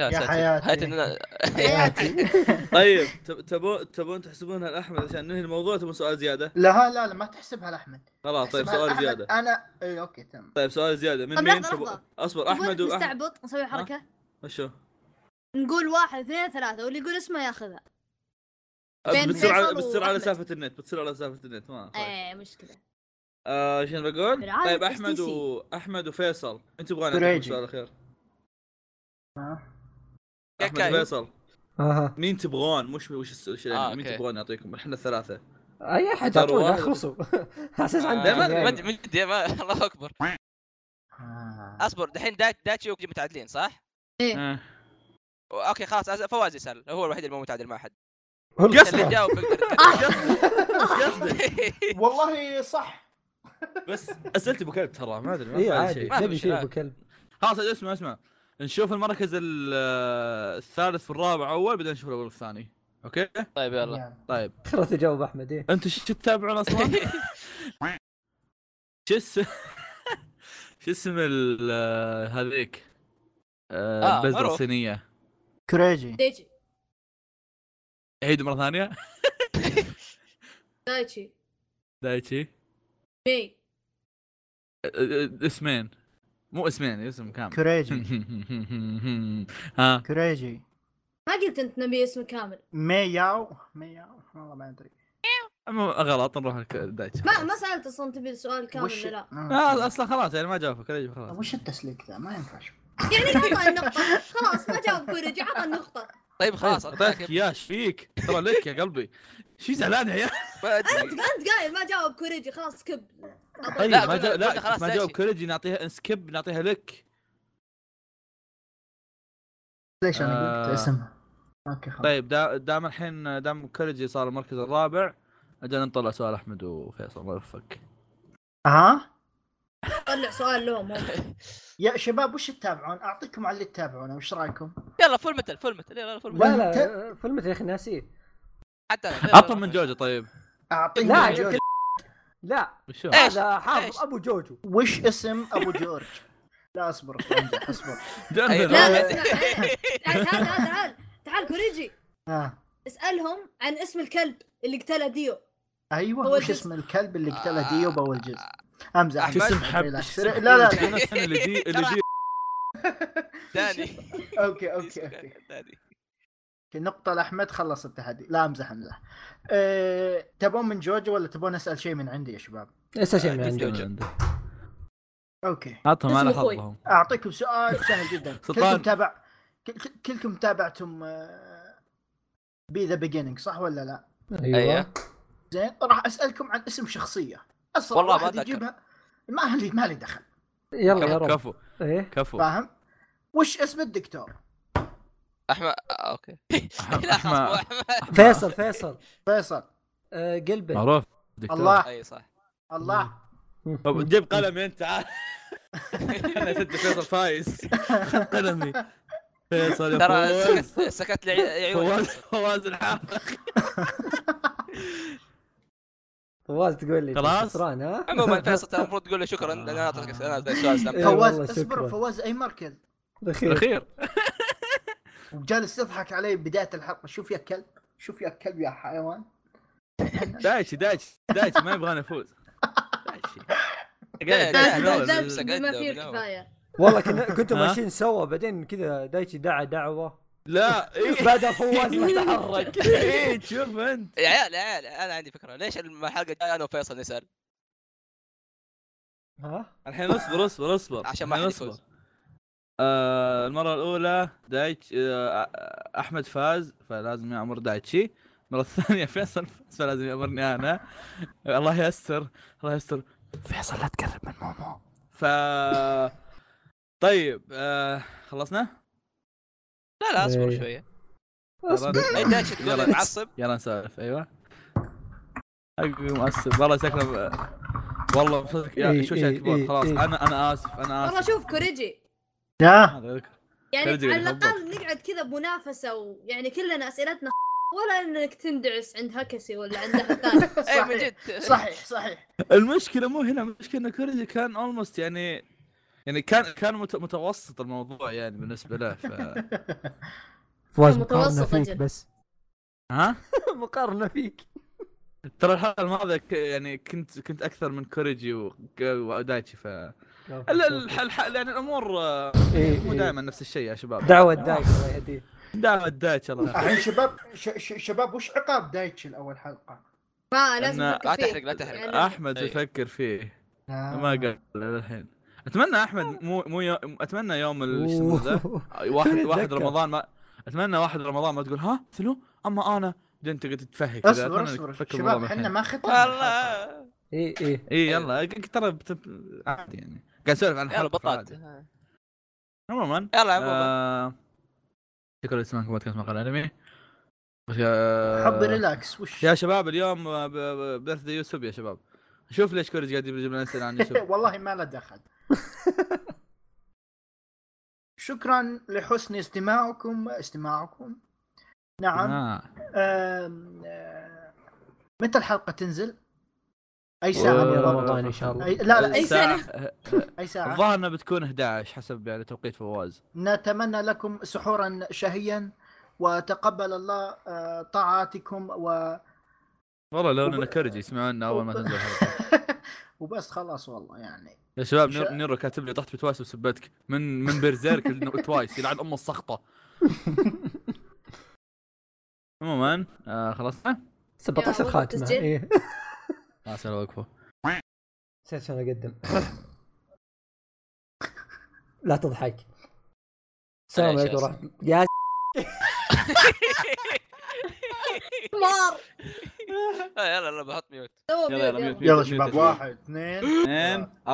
S5: يا
S3: ساتر.
S5: حياتي.
S3: حياتي إننا- [laughs]
S6: هايتي
S2: طيب تب- تبون تبون تحسبونها لاحمد عشان ننهي الموضوع تبون سؤال زياده
S5: [laughs] لا لا لا ما تحسبها لاحمد
S2: خلاص طيب
S5: احسبها
S2: سؤال
S5: لأحمد.
S2: زياده
S5: انا اي اوكي إيه، تمام
S2: طيب سؤال زياده من
S6: طب
S2: مين
S6: لحظة،
S2: تبو-
S6: لحظة.
S2: اصبر احمد واحمد
S6: مستعبط نسوي حركه
S2: وشو
S6: نقول واحد اثنين ثلاثة واللي يقول اسمه ياخذها. بين
S2: أه، بتصير على
S6: فيصل
S2: بتصير على
S6: وأحمد.
S2: سالفه النت بتصير على سالفه النت ما خلاص.
S6: ايه مشكلة.
S2: آه شنو بقول؟
S6: برعاية
S2: طيب
S6: STC.
S2: احمد واحمد وفيصل انت تبغون
S5: كوريجي.
S2: أعطيكم سؤال الاخير
S3: يا
S2: احمد
S3: كاي
S2: وفيصل
S1: اها
S2: مين تبغون مش وش الس- وش
S3: آه،
S2: مين
S3: أوكي.
S2: تبغون نعطيكم احنا الثلاثه
S1: اي احد
S2: ترى
S1: اعطونا
S2: واحد.
S1: اخلصوا [laughs] اساس
S3: آه،
S1: عندك
S3: ما-
S2: دايماً-
S1: يعني.
S3: [laughs] ما- من جد يا ما- الله اكبر
S5: آه.
S3: اصبر دحين دا- داتشي وكوجي متعادلين صح؟ اوكي خلاص أز- فواز يسال هو الوحيد اللي مو متعادل مع احد
S1: هو
S2: قصة.
S3: اللي
S1: الأسرع.
S3: جاوب بيقدر
S2: قصدك
S5: والله صح
S2: [laughs] بس اسئله ابو كلب ترى ما ادري ما
S1: اي
S2: فاهم
S1: إيه، عادي
S2: شيء.
S3: ما في
S1: نبي شيء
S3: مشكلة.
S1: ابو كلب
S2: [laughs] خلاص اسمع اسمع نشوف المركز ال- الثالث والرابع اول بعدين نشوف الاول والثاني اوكي
S3: [laughs] طيب يلا
S5: يعني.
S2: طيب
S1: خلاص تجاوب احمد
S2: [laughs]
S1: ايه
S2: انتم شو تتابعون اصلا؟ [laughs] شو اسم [laughs] شو اسم ال- هذيك آه،
S3: آه،
S2: البذره
S3: معروف.
S2: الصينيه
S5: كريجي
S6: دايتشي
S2: عيد مره [laughs] ثانيه
S6: دايتشي
S2: دايتشي آه،
S6: مي
S2: آه، اسمين مو اسمين اسم
S5: [laughs]
S2: كامل
S5: كريجي
S2: ها
S5: كريجي
S6: ما قلت انت نبي اسم كامل.
S5: مياو مياو والله ما ادري
S2: عمو- غلط نروح لك- دايتش
S6: ما ما سالت اصلا تبي السؤال كامل
S5: وش طيب،
S6: ولا لا
S2: آه، اصلا خلاص يعني ما جاوبك رجل خلاص
S5: وش التسليك ذا ما ينفع شو.
S6: يعني عطى النقطه خلاص ما جاوب كوريجي عطى النقطه
S3: طيب خلاص
S2: اعطيتك
S3: أعطاك-
S2: اياه إيش فيك ترى لك يا قلبي شي زعلان يا عيال
S3: ما
S6: انت
S3: أدري.
S6: انت قايل ما جاوب كوريجي خلاص سكب
S2: طيب
S3: لا،
S2: ما
S3: قلنا-
S2: جاوب
S3: قلنا
S2: لا
S3: خلاص
S2: ما
S3: دايتش.
S2: جاوب كوريجي نعطيها سكيب نعطيها لك
S5: ليش انا
S2: آه.
S5: قلت اسمها اوكي خلاص
S2: طيب دا- دام الحين دام كوريجي صار المركز الرابع اجل نطلع سؤال احمد وفيصل الله يوفقك
S5: ها
S6: طلع سؤال لهم هم.
S5: يا شباب وش تتابعون؟ اعطيكم على اللي تتابعونه وش رايكم؟
S3: يلا فول متل فول متل يلا فول متل
S1: لا لا
S5: وأنت-
S1: فيلم يا اخي ناسيه
S3: حتى أنا. يلا،
S2: عطنا
S3: يلا.
S2: من جوجو طيب
S5: اعطيكم
S1: لا
S5: جوجو.
S1: يمكن- لا
S2: وشو
S3: إيه. إيش؟
S1: هذا حافظ
S3: إيش؟
S1: ابو جوجو
S5: وش اسم ابو جورج؟ [laughs] لا اصبر أنجح، اصبر
S2: جنبنا.
S6: لا
S5: لا.
S6: لا اسمع إيه. تعال تعال تعال تعال تعال كوريجي
S5: آه.
S6: اسالهم عن اسم الكلب اللي قتله ديو
S5: ايوه
S6: أول
S5: وش
S6: جزء.
S5: اسم الكب اللي قتله
S3: آه.
S5: ديو باول جزء؟ امزح
S3: أحمد.
S2: جسم
S5: امزح،
S2: حب
S5: ريلاكس.
S2: جسم
S5: لا لا
S3: [laughs]
S2: حب. أنا السنة اللي دي اللي دي
S3: ثاني
S5: اوكي اوكي اوكي
S3: ثاني
S5: نقطة لأحمد خلص التحدي لا امزح امزح أه... تبون من جوجو ولا تبون اسأل شيء من عندي يا شباب
S1: لسه شيء من
S3: آه،
S1: عندي
S3: جوجو.
S5: اوكي
S2: عطهم على
S6: اسمه خوي.
S2: حظهم
S5: أعطيكم سؤال سهل جدا
S2: سلطان.
S5: كلكم تابع كل- كل- كلكم تابعتم آه، بي ذا بيجيننج صح ولا لا
S1: ايوه
S3: أيوه.
S5: زين راح أسألكم عن اسم شخصية أسرع
S3: والله ما
S5: واحد
S3: أتذكر.
S5: يجيبها ما لي ما لي دخل
S1: يلا يا
S2: كفو
S1: رب
S2: كفو
S1: ايه
S2: كفو
S5: فاهم وش اسم الدكتور
S3: احمد آه، اوكي
S2: أحمد-
S3: لا خلاص، مو
S2: أحمد
S3: احمد
S1: فيصل فيصل
S5: فيصل
S1: آه، قلبي
S2: معروف دكتور
S5: الله
S3: اي صح
S2: [laughs]
S5: الله
S2: طب جيب قلمي انت [laughs] تعال انا سجل فيصل فايز خذ [laughs] قلمي فيصل يا
S3: ترى أيوة.
S2: فواز
S3: سكت سكت لي عي- عيوني
S2: فواز فواز الحار
S1: [laughs] فواز تقول لي
S2: خلاص؟
S1: خسران ها [laughs]
S3: عموما فيصل ترى المفروض تقول له شكرا لان انا اعطيتك انا أعطيتك
S2: [laughs]
S3: سؤال سلام.
S1: إيه
S5: فواز
S1: والله شكراً.
S5: اصبر فواز اي مركز
S1: الاخير
S2: الاخير
S5: وجالس يضحك علي بداية الحلقة شوف يا كلب شوف يا كلب يا حيوان
S2: دايتشي دايتشي دايتشي ما يبغانا [laughs] نفوز دايتشي قاعد
S3: دايتشي. دايتشي.
S2: يتجاوز.
S3: دايتشي.
S6: بما فيه
S3: قدم.
S6: الكفايه
S1: والله
S2: [laughs]
S1: كنا كنتوا
S2: ها؟
S1: ماشيين سوا بعدين كذا دايتشي دعا دعوه
S2: لا إيه.
S1: بدا
S2: [laughs]
S1: فواز يتحرك
S2: ايه شوف انت
S3: يا عيال يا عيال انا عندي فكره ليش الحلقه الجايه انا وفيصل نسال
S1: ها
S2: الحين اصبر اصبر اصبر
S3: عشان ما
S2: الحين
S3: حد
S2: اصبر.
S3: يفوز.
S2: آه المره الاولى دايتش آه آه، احمد فاز فلازم يامر دايتشي المره الثانيه [laughs] فيصل فاز فلازم يامرني انا الله يستر الله يستر
S4: فيصل لا تقرب من مومو
S2: ف طيب آه خلصنا
S3: لا إيه، لا اصبر
S1: إيه.
S3: شويه
S1: اصبر
S3: اي دايتشي تقول لي معصب
S2: طيب، يلا نسولف ايوه حقي مؤسف والله شكله آه، والله صدق يا
S1: إيه،
S2: شو
S1: إيه، إيه،
S2: شكله خلاص
S1: إيه.
S2: انا انا اسف انا
S6: والله
S2: اسف
S6: شوف كوريجي
S5: [laughs] لا
S2: هذا ذكر.
S6: يعني
S2: كوريجي
S6: على
S2: بالضبط.
S6: الاقل نقعد كذا بمنافسه ويعني كلنا اسئلتنا ولا انك تندعس عند هكسي ولا عند
S5: [laughs]
S6: هكاس
S3: اي إيه، من
S5: صحيح
S3: جد
S5: صحيح صحيح
S2: المشكله مو هنا المشكله ان كوريجي كان اولموست يعني يعني كان كان مت- متوسط الموضوع يعني بالنسبه له ف [laughs]
S4: فواز
S6: متوسط
S4: مقارنة فيك
S6: أجل.
S4: بس
S2: ها
S1: مقارنه فيك
S2: ترى الحلقه الماضيه ك... يعني كنت كنت اكثر من كوريجي و... ودايتشي ف ال- ال- الح... الح... يعني الامور آه،
S1: إيه،
S2: مو
S1: إيه.
S2: دائما نفس الشيء يا شباب
S1: دعوه دايتشي الله يهديه
S2: دائما دايتشي الله يحفظه.
S5: الحين شباب ش- ش- شباب وش عقاب دايتشي الاول حلقه؟
S6: ما لازم
S2: أنا-
S6: نفكر
S3: لا
S6: فيه.
S3: تحرق، لا تحرق.
S6: يعني-
S2: احمد
S3: إيه.
S2: يفكر فيه
S5: آه.
S2: ما قال للحين اتمنى احمد مو مو يو... اتمنى يوم ال- [laughs] إيش يسمونه ذا؟
S1: أوه.
S2: آه، واحد واحد
S1: أتذكر.
S2: رمضان ما اتمنى واحد رمضان ما تقول ها ثلو اما انا بعدين تقعد تتفهي كذا
S5: اصبر
S2: أتمنى إنك
S5: اصبر
S2: تفكر
S5: شباب
S2: بالوضع
S5: احنا
S2: الحين.
S5: ما ختمنا
S2: [laughs]
S5: الحلقة.
S3: والله
S1: ايه ايه
S2: اي يلا ك- ترى بت- عادي يعني قاعد اسولف عن
S3: يلا
S2: الحلقه [laughs]
S3: بطاط
S2: فعادي.
S3: يلا
S2: عموما
S3: عموما
S2: آه، شكرا لسماعكم بودكاست مقال انمي
S5: حب ريلاكس وش
S2: آه، يا شباب اليوم بيرث داي يوسف يا شباب شوف ليش كوريج قاعد يجيب لنا اسئله عن يوسف
S5: [laughs] والله ما له
S2: [laughs]
S5: دخل شكرا لحسن استماعكم استماعكم نعم
S2: آه.
S5: آم، آه، متى الحلقه تنزل؟ اي ساعه
S1: سلام يا
S2: آه،
S5: بالضبط؟
S1: رمضان إن شاء الله.
S5: أي- لا
S6: أي
S5: لا اي
S2: الساعة-
S5: أي ساعه
S2: الظاهر انها بتكون 11 حسب يعني توقيت فواز
S5: نتمنى لكم سحورا شهيا وتقبل الله آه، طاعاتكم و... [laughs]
S2: والله لو ان كوريج يسمعونا اول ما تنزل الحلقه
S5: وبس خلاص والله يعني
S2: يا شباب
S5: مش-
S2: نير- نيرو كاتب لي طحت بتوايس وسبتك من من برزيرك لن- توايس يلعن ام السخطه عموما آه خلصنا
S6: يا
S1: 17
S6: ولد
S1: خاتمه
S6: تسجيل.
S1: إيه. [laughs]
S2: ما سأل وقفه
S1: نسيت شلون اقدم [laughs] لا تضحك السلام
S3: معليش
S1: عليكم
S3: آسف.
S1: ورحمه يا
S6: مار
S3: آه، [laughs] يلا يلا بحط ميوت
S6: سوى
S2: يلا، يلا،
S6: ميوت،
S2: ميوت.
S5: يلا شباب واحد اثنين
S2: اثنين